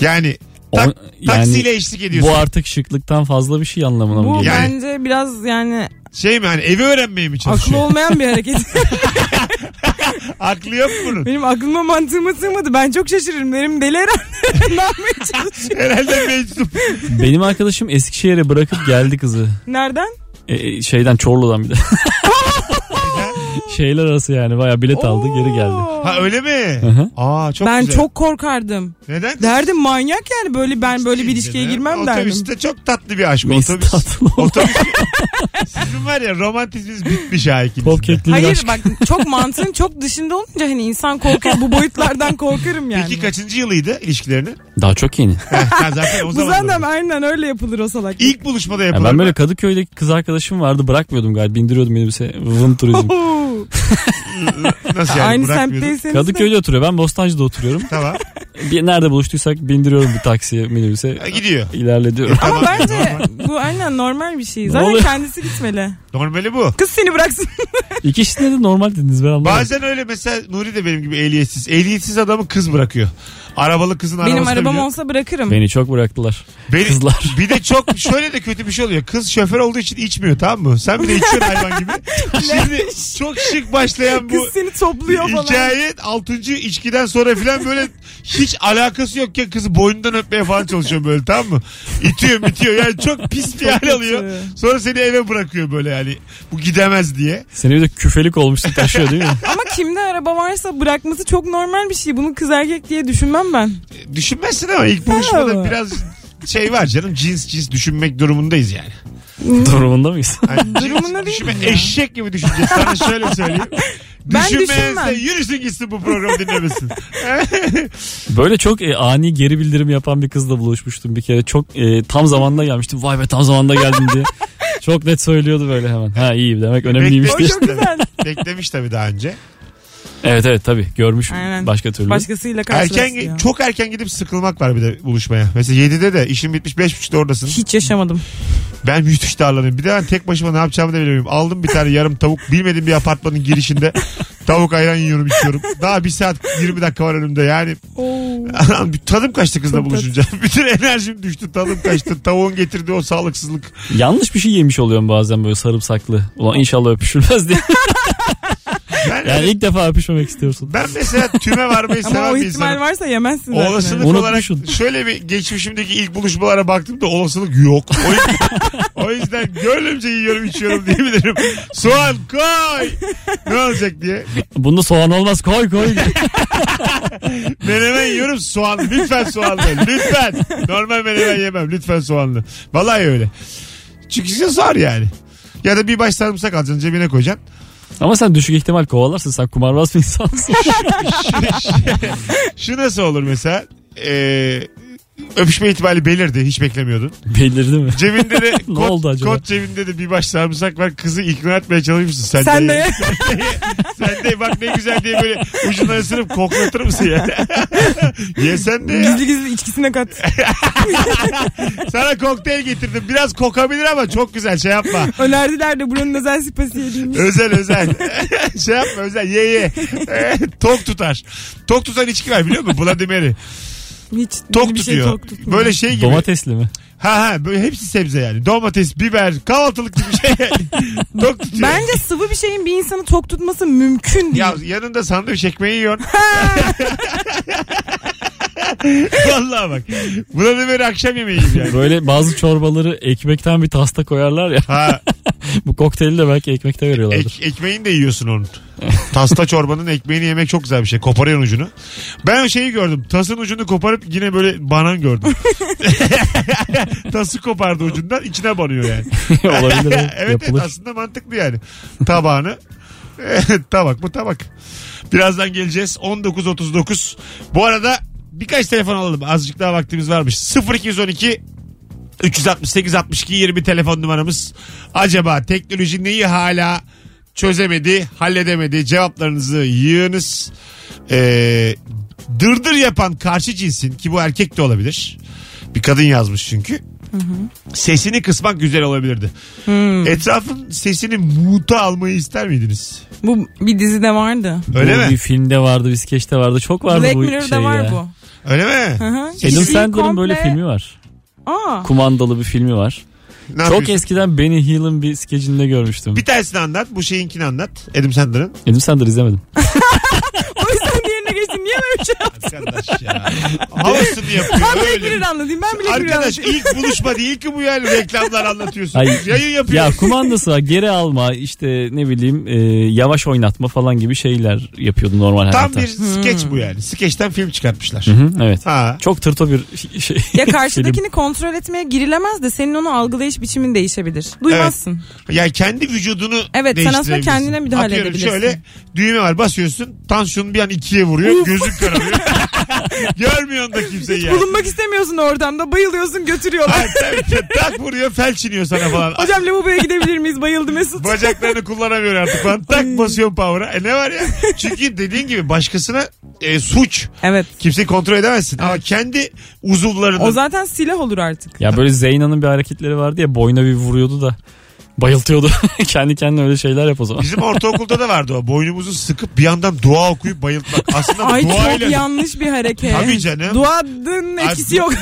[SPEAKER 2] Yani, tak-
[SPEAKER 4] O- yani
[SPEAKER 2] taksiyle eşlik ediyorsun.
[SPEAKER 4] Bu artık şıklıktan fazla bir şey anlamına mı
[SPEAKER 3] Bu
[SPEAKER 4] geliyor?
[SPEAKER 2] Yani-
[SPEAKER 3] bence biraz yani
[SPEAKER 2] Şey mi hani evi öğrenmeye mi
[SPEAKER 3] aklı
[SPEAKER 2] çalışıyor?
[SPEAKER 3] olmayan bir hareket.
[SPEAKER 2] Aklı yok mu bunun.
[SPEAKER 3] Benim aklıma mantığıma sığmadı. Ben çok şaşırırım. Benim deli herhalde. ne yapmaya çalışıyor?
[SPEAKER 2] Herhalde meczup.
[SPEAKER 4] Benim arkadaşım Eskişehir'e bırakıp geldi kızı.
[SPEAKER 3] Nereden?
[SPEAKER 4] E, şeyden Çorlu'dan bir de. Şeyler arası yani bayağı bilet aldı geri geldi.
[SPEAKER 3] Oo.
[SPEAKER 2] Ha öyle mi?
[SPEAKER 4] Hı hı.
[SPEAKER 2] Aa çok
[SPEAKER 3] ben
[SPEAKER 2] güzel.
[SPEAKER 3] çok korkardım.
[SPEAKER 2] Neden?
[SPEAKER 3] Derdim manyak yani böyle ben böyle bir ilişkiye
[SPEAKER 2] Değil mi?
[SPEAKER 3] girmem derdim.
[SPEAKER 2] Otobüste çok tatlı bir aşk.
[SPEAKER 4] Mis
[SPEAKER 2] Otobüs.
[SPEAKER 4] tatlı oldu.
[SPEAKER 2] Otobüs. Sizin var ya romantizminiz bitmiş ha ikinizin.
[SPEAKER 4] Top kekli bir
[SPEAKER 3] Hayır
[SPEAKER 4] aşk.
[SPEAKER 3] bak çok mantığın çok dışında olunca hani insan korkar bu boyutlardan korkarım yani.
[SPEAKER 2] Peki kaçıncı yılıydı ilişkilerinin?
[SPEAKER 4] Daha çok yeni.
[SPEAKER 2] Heh, sen zaten o
[SPEAKER 3] Bu
[SPEAKER 2] zaman.
[SPEAKER 3] zaten aynen öyle yapılır o salak.
[SPEAKER 2] İlk buluşmada
[SPEAKER 4] Ya
[SPEAKER 2] yapılır.
[SPEAKER 4] ben
[SPEAKER 2] mı?
[SPEAKER 4] böyle Kadıköy'deki kız arkadaşım vardı bırakmıyordum galiba bindiriyordum minibüse vın turizm.
[SPEAKER 3] Oo.
[SPEAKER 2] Nasıl yani
[SPEAKER 3] Aynı
[SPEAKER 2] bırakmıyordun?
[SPEAKER 3] semtteyseniz de.
[SPEAKER 4] Kadıköy'de oturuyor ben Bostancı'da oturuyorum.
[SPEAKER 2] Tamam.
[SPEAKER 4] Bir, nerede buluştuysak bindiriyorum bir taksiye minibüse
[SPEAKER 2] Ha, Gidiyor.
[SPEAKER 4] ilerlediyorum.
[SPEAKER 3] Ama
[SPEAKER 2] Tamam.
[SPEAKER 3] bence bu aynen normal bir şey.
[SPEAKER 4] Ne
[SPEAKER 3] Zaten
[SPEAKER 4] oluyor?
[SPEAKER 3] kendisi gitmeli.
[SPEAKER 2] Normali bu.
[SPEAKER 3] Kız seni bıraksın.
[SPEAKER 4] İki kişisinde de normal dediniz ben anlamadım.
[SPEAKER 2] Bazen öyle mesela Nuri de benim gibi ehliyetsiz. Ehliyetsiz adamı kız bırakıyor. Arabalı kızın arabasına
[SPEAKER 3] Benim arabam
[SPEAKER 2] biniyor.
[SPEAKER 3] olsa bırakırım.
[SPEAKER 4] Beni çok bıraktılar.
[SPEAKER 2] Beni-
[SPEAKER 4] Kızlar.
[SPEAKER 2] Bir de çok şöyle de kötü bir şey oluyor. Kız şoför olduğu için içmiyor tamam mı? Sen bir de içiyorsun hayvan gibi. Şimdi çok şık başlayan bu
[SPEAKER 3] Kız seni topluyor falan.
[SPEAKER 2] hikaye 6. içkiden sonra filan böyle hiç alakası yokken kızı boynundan öpmeye falan çalışıyor böyle tamam mı? İtiyor itiyor yani çok pis bir hal
[SPEAKER 3] kötü.
[SPEAKER 2] alıyor. Sonra seni eve bırakıyor böyle yani bu gidemez diye.
[SPEAKER 4] Seni bir de küfelik olmuştu taşıyor değil mi?
[SPEAKER 3] Ama kimde araba varsa bırakması çok normal bir şey. Bunu kız erkek diye düşünmem ben.
[SPEAKER 2] E, Düşünmezsin ama ilk buluşmada
[SPEAKER 3] Bravo.
[SPEAKER 2] biraz şey var canım cins cins düşünmek durumundayız yani.
[SPEAKER 4] Durumunda mıyız?
[SPEAKER 2] Yani cins
[SPEAKER 3] Durumunda değil
[SPEAKER 2] düşünme,
[SPEAKER 3] mi ya?
[SPEAKER 2] Eşek gibi düşüneceğiz. Sana şöyle söyleyeyim.
[SPEAKER 3] Ben
[SPEAKER 2] Düşünmeyense
[SPEAKER 3] düşünmem.
[SPEAKER 2] yürüsün gitsin bu programı dinlemesin.
[SPEAKER 4] Böyle çok e, ani geri bildirim yapan bir kızla buluşmuştum bir kere. Çok e, tam zamanda gelmiştim. Vay be tam zamanda geldim diye. çok net söylüyordu böyle hemen. Ha iyi demek önemliymiş
[SPEAKER 2] Bekle-
[SPEAKER 4] diye.
[SPEAKER 3] çok güzel.
[SPEAKER 2] Beklemiş tabii daha önce.
[SPEAKER 4] Evet evet tabii görmüş
[SPEAKER 3] Aynen.
[SPEAKER 4] başka türlü.
[SPEAKER 3] Başkasıyla karşılaşıyor.
[SPEAKER 2] Erken ge- çok erken gidip sıkılmak var bir de buluşmaya. Mesela 7'de de işin bitmiş 5.30'da oradasın.
[SPEAKER 3] Hiç yaşamadım.
[SPEAKER 2] Ben müthiş darlanıyorum. Bir de ben tek başıma ne yapacağımı da bilemiyorum. Aldım bir tane yarım tavuk. Bilmediğim bir apartmanın girişinde tavuk ayran yiyorum içiyorum. Daha bir saat 20 dakika var önümde yani.
[SPEAKER 3] Oo.
[SPEAKER 2] bir tadım kaçtı kızla
[SPEAKER 3] Çok
[SPEAKER 2] buluşunca. Bütün enerjim düştü tadım kaçtı. Tavuğun getirdiği o sağlıksızlık.
[SPEAKER 4] Yanlış bir şey yemiş oluyorum bazen böyle sarımsaklı. Ulan inşallah öpüşülmez diye.
[SPEAKER 2] Ben,
[SPEAKER 4] Yani ilk defa öpüşmemek istiyorsun.
[SPEAKER 2] ben mesela tüme varmayı
[SPEAKER 3] Ama
[SPEAKER 2] seven
[SPEAKER 3] o
[SPEAKER 2] bir
[SPEAKER 3] ihtimal
[SPEAKER 2] insanım.
[SPEAKER 3] varsa yemezsin zaten.
[SPEAKER 2] Olasılık olarak
[SPEAKER 4] Unutmuşsun.
[SPEAKER 2] şöyle bir geçmişimdeki ilk buluşmalara baktım da olasılık yok. O yüzden, o yüzden gönlümce yiyorum içiyorum diyebilirim. Soğan koy. Ne olacak diye.
[SPEAKER 4] Bunda soğan olmaz koy koy.
[SPEAKER 2] Menemen yiyorum soğanlı. Lütfen soğanlı. Lütfen. Normal menemen yemem. Lütfen soğanlı. Vallahi öyle. Çünkü size zor yani. Ya da bir baş sarımsak alacaksın cebine koyacaksın.
[SPEAKER 4] Ama sen düşük ihtimal kovalarsın sen kumarbaz bir insansın.
[SPEAKER 2] Şu nasıl olur mesela? Ee, öpüşme ihtimali belirdi. Hiç beklemiyordun.
[SPEAKER 4] Belirdi mi?
[SPEAKER 2] Cebinde de
[SPEAKER 4] Ne
[SPEAKER 2] kot,
[SPEAKER 4] oldu acaba?
[SPEAKER 2] kot cebinde de bir baş sarımsak var. Kızı ikna etmeye çalışmışsın. Sen, de.
[SPEAKER 3] Sen de
[SPEAKER 2] Sen de bak ne güzel diye böyle ucundan ısırıp koklatır mısın ya? Ye sen de ya.
[SPEAKER 3] gizli gizli içkisine kat.
[SPEAKER 2] Sana kokteyl getirdim. Biraz kokabilir ama çok güzel şey yapma.
[SPEAKER 3] Önerdiler de buranın özel sipası yediğimiz.
[SPEAKER 2] Özel özel. şey yapma özel ye ye. Tok tutar. Tok tutan içki var biliyor musun? Bloody Mary.
[SPEAKER 3] Hiç
[SPEAKER 2] Tok
[SPEAKER 3] bir şey
[SPEAKER 2] tutuyor.
[SPEAKER 3] tok tutmuyor.
[SPEAKER 2] Böyle şey gibi.
[SPEAKER 4] Domatesli mi?
[SPEAKER 2] Ha ha böyle hepsi sebze yani. Domates, biber, kahvaltılık gibi şey. tok tutuyor.
[SPEAKER 3] Bence sıvı bir şeyin bir insanı tok tutması mümkün değil.
[SPEAKER 2] Ya yanında sandviç ekmeği yiyorsun. Vallahi bak. Bloody Mary akşam yemeği gibi yani.
[SPEAKER 4] Böyle bazı çorbaları ekmekten bir tasta koyarlar ya.
[SPEAKER 2] Ha
[SPEAKER 4] Bu kokteyli de belki ekmekte veriyorlardır.
[SPEAKER 2] ek- ekmeğini de yiyorsun onun. Tasta çorbanın ekmeğini yemek çok güzel bir şey. Koparıyorsun ucunu. Ben o şeyi gördüm. Tasın ucunu koparıp yine böyle banan gördüm. Tası kopardı ucundan içine banıyor yani.
[SPEAKER 4] Olabilir.
[SPEAKER 2] evet evet,
[SPEAKER 4] yapılır.
[SPEAKER 2] aslında mantıklı yani. Tabağını. tabak bu tabak. Birazdan geleceğiz. 19.39. Bu arada birkaç telefon alalım. Azıcık daha vaktimiz varmış. 0212 368 62 20 telefon numaramız. Acaba teknoloji neyi hala çözemedi, halledemedi? Cevaplarınızı yığınız. Ee, dırdır yapan karşı cinsin ki bu erkek de olabilir. Bir kadın yazmış çünkü. Sesini kısmak güzel olabilirdi. Etrafın sesini muta almayı ister miydiniz?
[SPEAKER 3] Bu bir dizide vardı.
[SPEAKER 2] Öyle
[SPEAKER 4] bu
[SPEAKER 2] mi?
[SPEAKER 4] Bir filmde vardı, bir skeçte vardı. Çok vardı
[SPEAKER 3] Black
[SPEAKER 4] bu
[SPEAKER 3] Mirror'da
[SPEAKER 4] şey
[SPEAKER 3] var
[SPEAKER 4] ya.
[SPEAKER 3] bu.
[SPEAKER 2] Öyle mi?
[SPEAKER 3] Hı hı.
[SPEAKER 4] Adam
[SPEAKER 3] Kişiyi
[SPEAKER 4] Sandler'ın
[SPEAKER 3] komple-
[SPEAKER 4] böyle filmi var.
[SPEAKER 3] Aa.
[SPEAKER 4] Kumandalı bir filmi var.
[SPEAKER 2] Ne
[SPEAKER 4] Çok
[SPEAKER 2] yapıyorsun?
[SPEAKER 4] eskiden Benny Hill'in bir skecinde görmüştüm.
[SPEAKER 2] Bir tanesini anlat. Bu şeyinkini anlat. Adam Sandler'ın.
[SPEAKER 4] Adam Sandler izlemedim.
[SPEAKER 3] O yüzden diğerine geçtim. Niye böyle bir şey yaptın?
[SPEAKER 2] Arkadaş ya. Havasını yapıyor.
[SPEAKER 3] Ben Black
[SPEAKER 2] Öyle.
[SPEAKER 3] Mirror anlatayım. Ben Black Mirror
[SPEAKER 2] Arkadaş
[SPEAKER 3] anlatayım.
[SPEAKER 2] ilk buluşma değil ki bu yani reklamlar anlatıyorsunuz.
[SPEAKER 4] Ay,
[SPEAKER 2] Yayın yapıyorsunuz.
[SPEAKER 4] Ya kumandası var geri alma işte ne bileyim e, yavaş oynatma falan gibi şeyler yapıyordu normal hayatta.
[SPEAKER 2] Tam bir skeç
[SPEAKER 3] Hmm.
[SPEAKER 2] bu yani. Skeçten film çıkartmışlar.
[SPEAKER 4] Hı hı, evet.
[SPEAKER 2] Ha.
[SPEAKER 4] Çok tırto bir şey.
[SPEAKER 3] Ya karşıdakini kontrol etmeye girilemez de senin onu algılayış biçimin değişebilir. Duymazsın.
[SPEAKER 2] Yani kendi vücudunu
[SPEAKER 3] Evet, sen aslında
[SPEAKER 2] değiştirebilirsin.
[SPEAKER 3] kendine müdahale
[SPEAKER 2] Atıyorum
[SPEAKER 3] edebilirsin.
[SPEAKER 2] şöyle düğme var basıyorsun tansiyonun bir an ikiye vuruyor gözün kararıyor. Görmüyorsun da kimseyi yani.
[SPEAKER 3] Bulunmak istemiyorsun ortamda. Bayılıyorsun götürüyorlar.
[SPEAKER 2] Ha, tabii ki. tak vuruyor felç iniyor sana falan.
[SPEAKER 3] Hocam lavaboya gidebilir miyiz? Bayıldı Mesut.
[SPEAKER 2] Bacaklarını kullanamıyor artık falan. Tak basıyorsun power'a. E ne var ya? Çünkü dediğin gibi başkasına e, suç.
[SPEAKER 3] evet.
[SPEAKER 2] Kimseyi kontrol edemezsin. Ama kendi uzuvlarını.
[SPEAKER 3] O zaten silah olur artık.
[SPEAKER 4] ya böyle Zeyna'nın bir hareketleri vardı ya boyuna bir vuruyordu da bayıltıyordu. Kendi kendine öyle şeyler yap o zaman.
[SPEAKER 2] Bizim ortaokulda da vardı o. Boynumuzu sıkıp bir yandan dua okuyup bayıltmak. Aslında
[SPEAKER 3] Ay
[SPEAKER 2] dua
[SPEAKER 3] çok
[SPEAKER 2] ile...
[SPEAKER 3] yanlış bir hareket.
[SPEAKER 2] Tabii canım.
[SPEAKER 3] Duanın etkisi
[SPEAKER 2] Ay,
[SPEAKER 3] yok.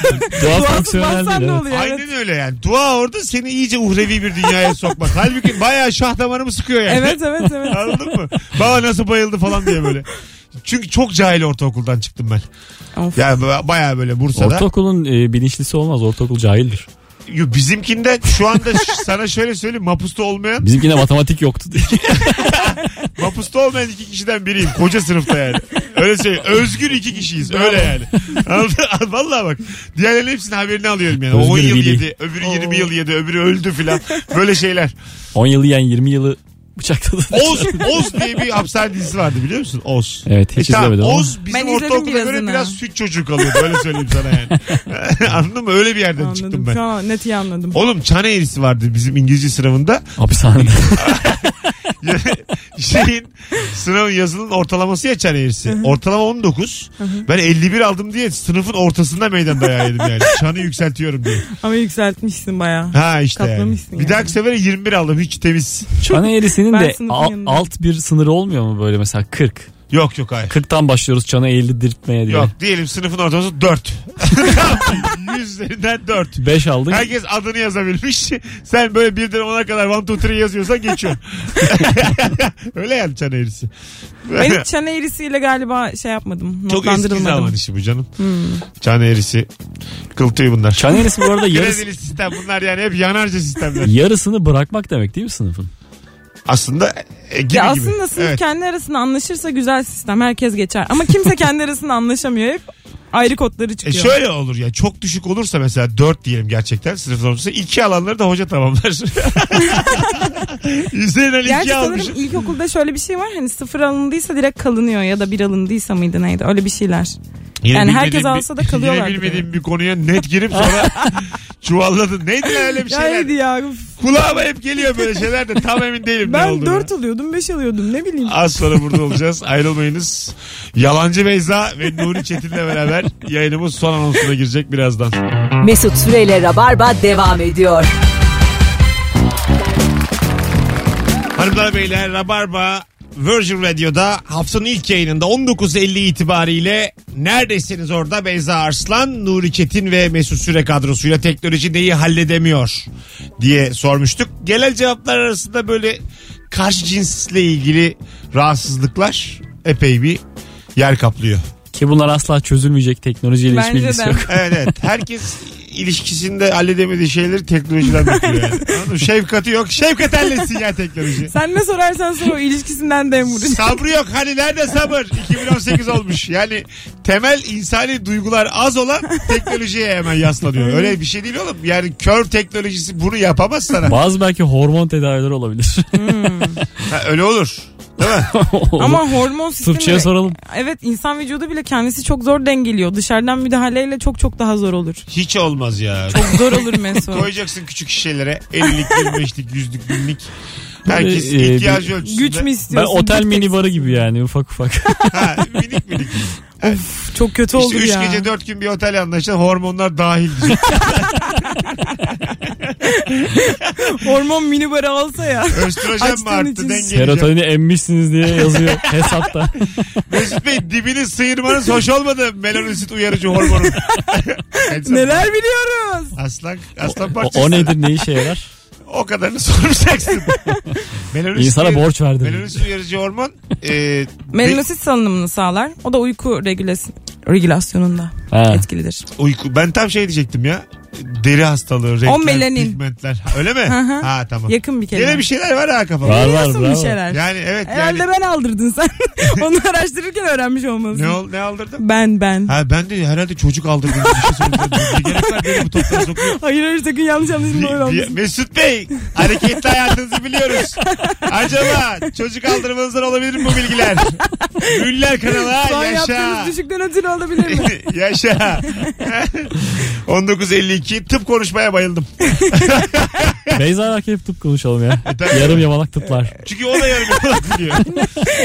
[SPEAKER 4] Dua
[SPEAKER 3] Duasız
[SPEAKER 4] fonksiyonel
[SPEAKER 3] bassan
[SPEAKER 4] değil,
[SPEAKER 3] ne
[SPEAKER 4] evet.
[SPEAKER 3] oluyor? Evet.
[SPEAKER 2] Aynen öyle yani. Dua orada seni iyice uhrevi bir dünyaya sokmak. Halbuki bayağı şah damarımı sıkıyor yani.
[SPEAKER 3] Evet evet evet.
[SPEAKER 2] Anladın mı? Baba nasıl bayıldı falan diye böyle. Çünkü çok cahil ortaokuldan çıktım ben.
[SPEAKER 3] Of.
[SPEAKER 2] Yani bayağı böyle Bursa'da.
[SPEAKER 4] Ortaokulun e, bilinçlisi olmaz. Ortaokul cahildir.
[SPEAKER 2] Yo, Bizimkinde şu anda ş- sana şöyle söyleyeyim mapusta olmayan
[SPEAKER 4] Bizimkinde matematik yoktu.
[SPEAKER 2] mapusta olmayan iki kişiden biriyim. Koca sınıfta yani. Öyle söyleyeyim. Özgür iki kişiyiz. Öyle yani. Anladın? Vallahi bak. Diğerlerinin hepsinin haberini alıyorum yani.
[SPEAKER 4] Özgür
[SPEAKER 2] 10 yıl
[SPEAKER 4] biri.
[SPEAKER 2] yedi. Öbürü 20 yıl yedi. Öbürü öldü filan. Böyle şeyler.
[SPEAKER 4] 10 yılı yiyen 20 yılı bıçakladı.
[SPEAKER 2] Oz, Oz diye bir hapishane dizisi vardı biliyor musun? Oz.
[SPEAKER 4] Evet hiç
[SPEAKER 2] E tamam,
[SPEAKER 4] izlemedim ama.
[SPEAKER 2] Oz bizim
[SPEAKER 3] Ben izledim
[SPEAKER 2] ortaokulda göre
[SPEAKER 3] birazını.
[SPEAKER 2] biraz süt çocuğu kalıyor. Böyle söyleyeyim sana yani. Anladın mı? Öyle bir yerden çıktım
[SPEAKER 3] Anladım.
[SPEAKER 2] ben.
[SPEAKER 3] Şu an net iyi anladım.
[SPEAKER 2] Oğlum çan eğrisi vardı bizim İngilizce sınavında.
[SPEAKER 4] Hapishanede.
[SPEAKER 2] Şeyin sınavın yazılının ortalaması ya çan eğrisi. Ortalama 19. Ben 51 aldım diye sınıfın ortasında meydan dayağı yedim yani. Çanı yükseltiyorum diye.
[SPEAKER 3] Ama yükseltmişsin bayağı.
[SPEAKER 2] Ha işte yani.
[SPEAKER 3] Katlamışsın
[SPEAKER 2] Bir
[SPEAKER 3] yani.
[SPEAKER 2] dahaki sefere 21 aldım hiç temiz.
[SPEAKER 4] Çan eğrisinin
[SPEAKER 3] Ben
[SPEAKER 4] de
[SPEAKER 3] sınıfın
[SPEAKER 4] al-
[SPEAKER 3] yanındayım.
[SPEAKER 4] alt bir sınırı olmuyor mu böyle mesela 40?
[SPEAKER 2] Yok yok hayır.
[SPEAKER 4] 40'tan başlıyoruz çana eğri dirtmeye diye.
[SPEAKER 2] Yok diyelim sınıfın ortalaması 4. Yüzlerinden 4.
[SPEAKER 4] 5 aldın.
[SPEAKER 2] Herkes adını yazabilmiş. Sen böyle birden ona kadar one two three yazıyorsan geçiyorsun. Öyle yani çan eğrisi.
[SPEAKER 3] Ben hiç çan eğrisiyle galiba şey yapmadım.
[SPEAKER 2] Çok eski zaman
[SPEAKER 3] notlandırılmadım. Hmm.
[SPEAKER 2] işi bu canım. Çan eğrisi. Kıl tüyü bunlar.
[SPEAKER 4] Çan eğrisi bu arada yarısı,
[SPEAKER 2] Brezilya sistem bunlar yani hep yanarca sistemler.
[SPEAKER 4] yarısını bırakmak demek değil mi sınıfın?
[SPEAKER 2] aslında e, gibi
[SPEAKER 3] Ya
[SPEAKER 2] gibi.
[SPEAKER 3] aslında sınıf
[SPEAKER 2] Evet.
[SPEAKER 3] kendi arasında anlaşırsa güzel sistem. Herkes geçer. Ama kimse kendi arasında anlaşamıyor. Hep ayrı kodları
[SPEAKER 2] E
[SPEAKER 3] çıkıyor.
[SPEAKER 2] şöyle olur ya çok düşük olursa mesela 4 diyelim gerçekten sınıflar olursa 2 alanları da hoca tamamlar. Üzerinden
[SPEAKER 3] Gerçi
[SPEAKER 2] 2
[SPEAKER 3] sanırım
[SPEAKER 2] almış.
[SPEAKER 3] şey ilkokulda şöyle bir şey var. Hani sıfır alındıysa direkt kalınıyor ya da bir alındıysa mıydı neydi? Öyle bir şeyler.
[SPEAKER 2] Yine
[SPEAKER 3] Yani herkes
[SPEAKER 2] bilmediğim bir-
[SPEAKER 3] alsa da
[SPEAKER 2] Yine
[SPEAKER 3] kalıyorlar bir de.
[SPEAKER 2] bilmediğim bir konuya net girip sonra çuvalladın. Neydi ya öyle bir
[SPEAKER 3] Ya neydi
[SPEAKER 2] şeyler?
[SPEAKER 3] ya?
[SPEAKER 2] Kulağıma hep geliyor böyle şeyler de tam emin değilim ne
[SPEAKER 3] Ben
[SPEAKER 2] olduğunu.
[SPEAKER 3] 4 alıyordum 5 alıyordum ne bileyim.
[SPEAKER 2] Az sonra burada olacağız. Ayrılmayınız. Yalancı Beyza ve Nuri Çetin'le beraber yayınımız son anonsuna girecek birazdan.
[SPEAKER 1] Mesut Süreyle Rabarba devam ediyor.
[SPEAKER 2] Hanımlar beyler Rabarba Virgin Radio'da haftanın ilk yayınında 19.50 itibariyle neredesiniz orada Beyza Arslan, Nuri Çetin ve Mesut Süre kadrosuyla teknoloji neyi halledemiyor diye sormuştuk. Gelen cevaplar arasında böyle karşı cinsle ilgili rahatsızlıklar epey bir yer kaplıyor.
[SPEAKER 4] Ki bunlar asla çözülmeyecek teknolojiyle hiçbir
[SPEAKER 3] Bence
[SPEAKER 4] ilgisi
[SPEAKER 3] de.
[SPEAKER 4] yok.
[SPEAKER 2] Evet evet. Herkes ilişkisinde halledemediği şeyleri teknolojiden bekliyor. Yani. Anladın mı? Şefkati yok. Şefkat halletsin ya teknoloji.
[SPEAKER 3] Sen ne sorarsan sor o ilişkisinden dem vuracak.
[SPEAKER 2] Sabrı yok. Hani nerede sabır? 2018 olmuş. Yani temel insani duygular az olan teknolojiye hemen yaslanıyor. Öyle bir şey değil oğlum. Yani kör teknolojisi bunu yapamaz sana.
[SPEAKER 4] Bazı belki hormon tedavileri olabilir.
[SPEAKER 2] Ha, öyle olur. Değil mi?
[SPEAKER 3] Ama hormon sistemi...
[SPEAKER 4] Tıpçıya şey soralım.
[SPEAKER 3] Evet insan vücudu bile kendisi çok zor dengeliyor. Dışarıdan müdahaleyle çok çok daha zor olur.
[SPEAKER 2] Hiç olmaz ya.
[SPEAKER 3] Zor olur Mesut.
[SPEAKER 2] Koyacaksın küçük şişelere. 50'lik, 25'lik, 100'lük, 1000'lik. Herkes
[SPEAKER 4] Böyle, e,
[SPEAKER 2] ihtiyacı ölçüsünde.
[SPEAKER 3] Güç mü
[SPEAKER 4] Ben
[SPEAKER 3] istiyorsun?
[SPEAKER 4] otel
[SPEAKER 3] Bir tek-
[SPEAKER 4] minibarı gibi yani ufak ufak.
[SPEAKER 2] Ha, minik minik.
[SPEAKER 3] Çok
[SPEAKER 2] İşte
[SPEAKER 3] kötü olur
[SPEAKER 2] 3
[SPEAKER 3] ya.
[SPEAKER 2] gece 4 gün bir otel anlaşılan hormonlar dahil.
[SPEAKER 3] Hormon minibarı alsa ya.
[SPEAKER 2] Östrojen mi
[SPEAKER 3] Açtığın
[SPEAKER 2] arttı
[SPEAKER 3] için.
[SPEAKER 2] dengeleyeceğim.
[SPEAKER 4] Serotonini emmişsiniz diye yazıyor hesapta.
[SPEAKER 2] Mesut Bey dibini sıyırmanız hoş olmadı. Melanosit uyarıcı hormonu. Sen-
[SPEAKER 3] Neler biliyoruz.
[SPEAKER 2] Aslan, aslan
[SPEAKER 4] O,
[SPEAKER 2] parçası. O,
[SPEAKER 4] o nedir ne işe yarar?
[SPEAKER 2] kadarını sormayacaksın. melanosit
[SPEAKER 4] İnsana
[SPEAKER 2] uyarı-
[SPEAKER 4] borç verdi.
[SPEAKER 2] Melanosit uyarıcı hormon. E, be-
[SPEAKER 3] Melanosit salınımını sağlar. O da uyku regülas- regülasyonunda
[SPEAKER 4] Ha.
[SPEAKER 3] etkilidir.
[SPEAKER 2] uyku. Ben tam şey diyecektim ya. Deri hastalığı, renkler,
[SPEAKER 3] melanin.
[SPEAKER 2] pigmentler. Ha, Öyle mi?
[SPEAKER 3] hı.
[SPEAKER 2] ha tamam.
[SPEAKER 3] Yakın bir kelime.
[SPEAKER 2] Gene bir şeyler var ha kafamda.
[SPEAKER 4] Var var
[SPEAKER 3] Biliyorsun bir
[SPEAKER 4] bravo.
[SPEAKER 3] şeyler.
[SPEAKER 2] Yani evet
[SPEAKER 3] Herhalde
[SPEAKER 2] yani.
[SPEAKER 3] ben aldırdın sen. Onu araştırırken öğrenmiş olmalısın.
[SPEAKER 2] Ne, ol, ne aldırdım?
[SPEAKER 3] Ben ben.
[SPEAKER 2] Ha ben de herhalde çocuk aldırdım. Bir şey söyleyeceğim. Ne gerek var beni bu topluma sokuyor.
[SPEAKER 3] Hayır hayır sakın yanlış anlaşılma
[SPEAKER 2] Bir-
[SPEAKER 3] böyle
[SPEAKER 2] bir-
[SPEAKER 3] olmasın.
[SPEAKER 2] Mesut Bey hareketli hayatınızı biliyoruz. Acaba çocuk aldırmanızdan olabilir mi bu bilgiler? Müller
[SPEAKER 3] Şu an
[SPEAKER 2] kanala yaşa.
[SPEAKER 3] yaptığımız düşükten ötürü olabilir mi?
[SPEAKER 2] yaşa. 1952 tıp konuşmaya bayıldım.
[SPEAKER 4] Beyza belki hep tıp konuşalım ya.
[SPEAKER 2] E, tabii.
[SPEAKER 4] Yarım yamalak tıplar.
[SPEAKER 2] Çünkü o da yarım yamalak biliyor.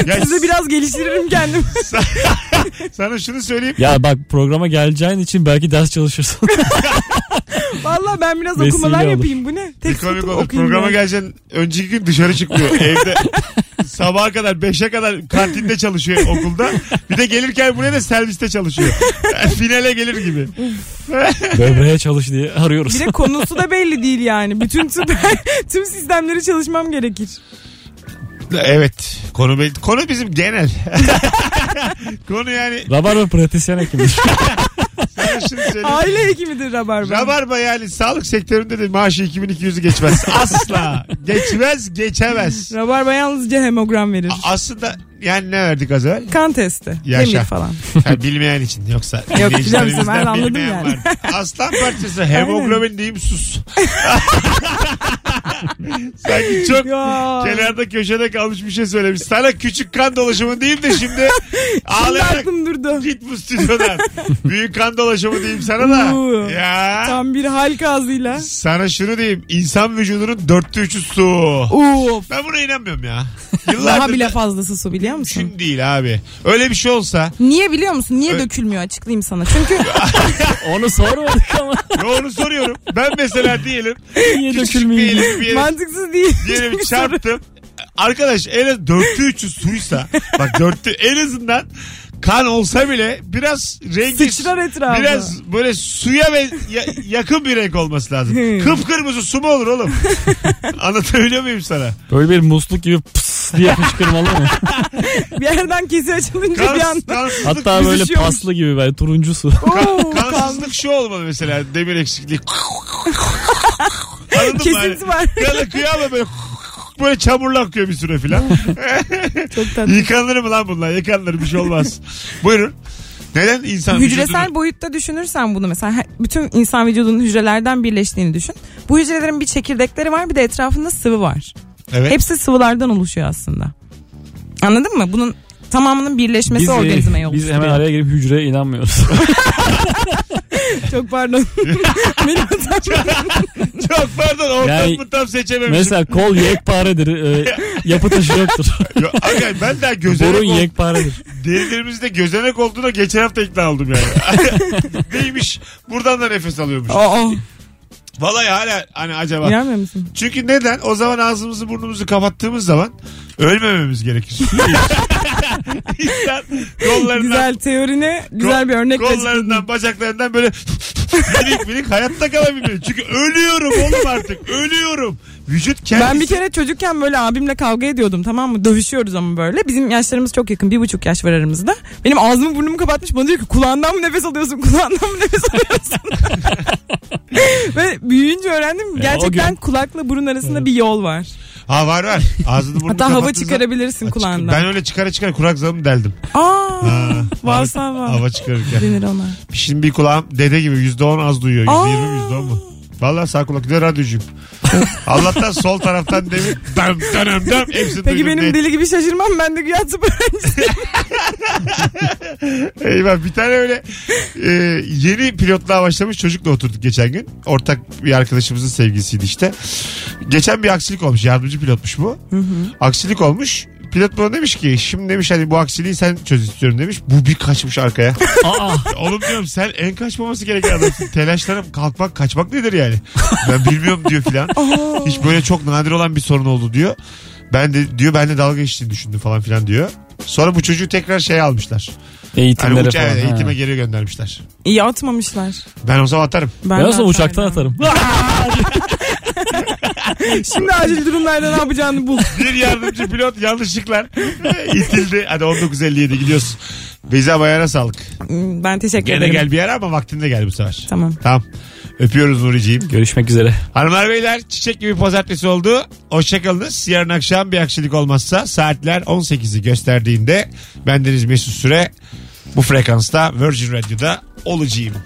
[SPEAKER 2] Ya
[SPEAKER 3] Size biraz geliştiririm kendimi.
[SPEAKER 2] sana şunu söyleyeyim.
[SPEAKER 4] Ya bak programa geleceğin için belki ders çalışırsın.
[SPEAKER 3] Valla ben biraz
[SPEAKER 4] Vesile
[SPEAKER 3] okumalar
[SPEAKER 4] olur.
[SPEAKER 3] yapayım bu ne?
[SPEAKER 2] Bir
[SPEAKER 3] Tek
[SPEAKER 2] komik
[SPEAKER 3] tutup
[SPEAKER 2] olur.
[SPEAKER 3] okuyayım
[SPEAKER 2] Programa
[SPEAKER 3] ben.
[SPEAKER 2] geleceksin. Önceki gün dışarı çıkmıyor. Evde sabaha kadar 5'e kadar kantinde çalışıyor okulda. Bir de gelirken buraya da serviste çalışıyor. Finale gelir gibi.
[SPEAKER 4] Böbreğe çalış diye arıyoruz.
[SPEAKER 3] Bir de konusu da belli değil yani. Bütün tüm, tüm sistemleri çalışmam gerekir.
[SPEAKER 2] Evet. Konu be- konu bizim genel. konu yani
[SPEAKER 4] Rabarba pratisyen hekimdir.
[SPEAKER 2] sana şunu söyleyeyim.
[SPEAKER 3] Aile hekimidir rabarba.
[SPEAKER 2] Rabarba yani sağlık sektöründe de maaşı 2200'ü geçmez. Asla. Geçmez, geçemez.
[SPEAKER 3] Rabarba yalnızca hemogram verir.
[SPEAKER 2] A- Aslında yani ne verdik az evvel?
[SPEAKER 3] kan testi.
[SPEAKER 2] Yaşa.
[SPEAKER 3] Demir falan.
[SPEAKER 2] Ha, bilmeyen için yoksa.
[SPEAKER 3] canım,
[SPEAKER 2] dinleyicilerimizden
[SPEAKER 3] ben anladım
[SPEAKER 2] bilmeyen
[SPEAKER 3] yani.
[SPEAKER 2] vardır. Aslan parçası hemoglobin diyeyim sus. Sanki çok
[SPEAKER 3] Ya.
[SPEAKER 2] kenarda köşede kalmış bir şey söylemiş. Sana küçük kan dolaşımı diyeyim de şimdi
[SPEAKER 3] Şimdi
[SPEAKER 2] ağlayarak
[SPEAKER 3] aklım durdu.
[SPEAKER 2] Git bu stüdyodan. Büyük kan dolaşımı diyeyim sana da.
[SPEAKER 3] Uuu.
[SPEAKER 2] ya.
[SPEAKER 3] Tam bir halk ağzıyla.
[SPEAKER 2] Sana şunu diyeyim. İnsan vücudunun dörtte üçü su.
[SPEAKER 3] Uf.
[SPEAKER 2] Ben buna inanmıyorum ya.
[SPEAKER 3] Daha
[SPEAKER 2] Yıllardır
[SPEAKER 3] bile
[SPEAKER 2] da-
[SPEAKER 3] fazlası su biliyor musun?
[SPEAKER 2] Mümkün değil abi. Öyle bir şey olsa.
[SPEAKER 3] Niye biliyor musun? Niye
[SPEAKER 2] Ö-
[SPEAKER 3] dökülmüyor açıklayayım sana. Çünkü
[SPEAKER 4] Onu sormadık ama
[SPEAKER 2] Ya onu soruyorum. Ben mesela diyelim.
[SPEAKER 4] niye
[SPEAKER 2] küçük bir
[SPEAKER 4] dökülmüyor?
[SPEAKER 2] elim bir yere,
[SPEAKER 3] mantıksız değil.
[SPEAKER 2] diyelim
[SPEAKER 3] şey
[SPEAKER 2] çarptım. Arkadaş en az dörtte üçü suysa. Bak dörtte en azından kan olsa bile biraz rengi
[SPEAKER 3] Sıçrar etrafı.
[SPEAKER 2] Biraz böyle suya ve ya- yakın bir renk olması lazım.
[SPEAKER 3] Hmm.
[SPEAKER 2] Kıpkırmızı su mu olur oğlum? Anlatabiliyor muyum sana?
[SPEAKER 4] Böyle bir musluk gibi pıs diye fışkırmalı mı?
[SPEAKER 3] Bir yerden kesi açılınca bir
[SPEAKER 2] Kans,
[SPEAKER 3] anda.
[SPEAKER 2] kansızlık,
[SPEAKER 4] Hatta böyle
[SPEAKER 3] Büzüşüyormuş.
[SPEAKER 4] paslı gibi böyle turuncu su.
[SPEAKER 3] Oo, kan-
[SPEAKER 2] kansızlık şu olmalı mesela demir eksikliği. Anladın mı? Hani
[SPEAKER 3] Kesinti var.
[SPEAKER 2] Ya da kıyama böyle böyle çamurla akıyor bir süre filan.
[SPEAKER 3] Çok tatlı.
[SPEAKER 2] Yıkanır mı lan bunlar? Yıkanır bir şey olmaz. Buyurun. Neden insan
[SPEAKER 3] Hücresel
[SPEAKER 2] vücudunu-
[SPEAKER 3] boyutta düşünürsen bunu mesela he- bütün insan vücudunun hücrelerden birleştiğini düşün. Bu hücrelerin bir çekirdekleri var bir de etrafında sıvı var.
[SPEAKER 2] Evet.
[SPEAKER 3] Hepsi sıvılardan oluşuyor aslında. Anladın mı? Bunun tamamının birleşmesi
[SPEAKER 4] e,
[SPEAKER 3] organizmaya oluşturuyor.
[SPEAKER 4] biz hemen araya girip hücreye inanmıyoruz.
[SPEAKER 3] Çok pardon. Beni utandım.
[SPEAKER 2] Çok pardon ortamı
[SPEAKER 4] Yani-
[SPEAKER 2] tam seçememişim.
[SPEAKER 4] Mesela kol yekparedir. E, yapı taşı yoktur.
[SPEAKER 2] Yo, aga ben daha gözenek
[SPEAKER 4] Borun
[SPEAKER 2] oldum.
[SPEAKER 4] yekparedir.
[SPEAKER 2] Derilerimizde gözenek olduğuna geçen hafta ikna oldum yani. Neymiş? Buradan da nefes alıyormuş.
[SPEAKER 3] Aa,
[SPEAKER 2] Vallahi hala hani acaba.
[SPEAKER 3] inanmıyor musun?
[SPEAKER 2] Çünkü neden? O zaman ağzımızı burnumuzu kapattığımız zaman ölmememiz gerekir. İnsan kollarından,
[SPEAKER 3] Güzel teorine güzel bir örnek
[SPEAKER 2] kollarından bacaklarından böyle minik minik hayatta kalabiliyor. Çünkü ölüyorum oğlum artık. Ölüyorum. Vücut kendisi.
[SPEAKER 3] Ben bir kere çocukken böyle abimle kavga ediyordum tamam mı? Dövüşüyoruz ama böyle. Bizim yaşlarımız çok yakın. Bir buçuk yaş var aramızda. Benim ağzımı burnumu kapatmış. Bana diyor ki kulağından mı nefes alıyorsun? Kulağından mı nefes alıyorsun? Ve büyüyünce
[SPEAKER 2] E,
[SPEAKER 3] öğrendim. Gerçekten
[SPEAKER 4] gün-
[SPEAKER 3] kulakla burun arasında bir yol var.
[SPEAKER 2] Ha var var. Ağzını burnunu
[SPEAKER 3] Hatta hava
[SPEAKER 2] kapattığın zaman-
[SPEAKER 3] çıkarabilirsin
[SPEAKER 2] Ha, çık-
[SPEAKER 3] kulağından.
[SPEAKER 2] Ben öyle çıkara çıkara kurak zamı deldim.
[SPEAKER 3] Aa, varsa
[SPEAKER 2] hava,
[SPEAKER 3] var.
[SPEAKER 2] hava çıkarırken.
[SPEAKER 3] Denir ona.
[SPEAKER 2] Şimdi bir kulağım dede gibi yüzde on az duyuyor.
[SPEAKER 3] Aa.
[SPEAKER 2] Yüzde yirmi yüzde on mu? Valla sağ kulakta radyocuyum. Allah'tan sol taraftan demin dam dam dam hepsini
[SPEAKER 3] Peki
[SPEAKER 2] duydum
[SPEAKER 3] benim
[SPEAKER 2] diye.
[SPEAKER 3] deli gibi şaşırmam. Ben de güya tıp öğrencisiyim.
[SPEAKER 2] Eyvah bir tane öyle e, yeni pilotluğa başlamış çocukla oturduk geçen gün. Ortak bir arkadaşımızın sevgilisiydi işte. Geçen bir aksilik olmuş. Yardımcı pilotmuş bu. Aksilik olmuş. Pilot bana demiş ki şimdi demiş hani bu aksiliği sen çöz istiyorum demiş. Bu bir kaçmış arkaya.
[SPEAKER 4] Aa,
[SPEAKER 2] Oğlum diyorum sen en kaçmaması gereken adamsın. Telaşlanıp kalkmak kaçmak nedir yani? Ben bilmiyorum diyor filan. Hiç böyle çok nadir olan bir sorun oldu diyor. Ben de diyor ben de dalga geçtiğini düşündüm falan filan diyor. Sonra bu çocuğu tekrar şeye almışlar. Hani
[SPEAKER 4] eğitimlere
[SPEAKER 2] uçağa
[SPEAKER 4] falan. ha.
[SPEAKER 2] eğitime geri göndermişler.
[SPEAKER 3] İyi atmamışlar.
[SPEAKER 2] Ben o zaman atarım.
[SPEAKER 4] Ben olsam
[SPEAKER 3] de
[SPEAKER 4] uçaktan
[SPEAKER 3] atardım.
[SPEAKER 4] atarım.
[SPEAKER 2] Ah!
[SPEAKER 3] Şimdi acil durumlarda ne yapacağını bul.
[SPEAKER 2] Bir yardımcı pilot yanlışlıklar itildi. Hadi 19.57 gidiyoruz. Beyza Bayar'a sağlık.
[SPEAKER 3] Ben teşekkür
[SPEAKER 2] Gene
[SPEAKER 3] ederim.
[SPEAKER 2] gel bir yere ama vaktinde gel bu sefer.
[SPEAKER 3] Tamam.
[SPEAKER 2] Tamam. Öpüyoruz Nuri'ciğim.
[SPEAKER 4] Görüşmek üzere.
[SPEAKER 2] Hanımlar beyler çiçek gibi pazartesi oldu. Hoşçakalınız. Yarın akşam bir aksilik olmazsa saatler 18'i gösterdiğinde bendeniz Mesut Süre bu frekansta Virgin Radio'da olacağım.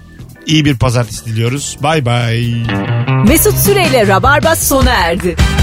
[SPEAKER 2] İyi bir pazartesi diliyoruz. Bay bay.
[SPEAKER 1] Mesut Süreyle Rabarba sona erdi.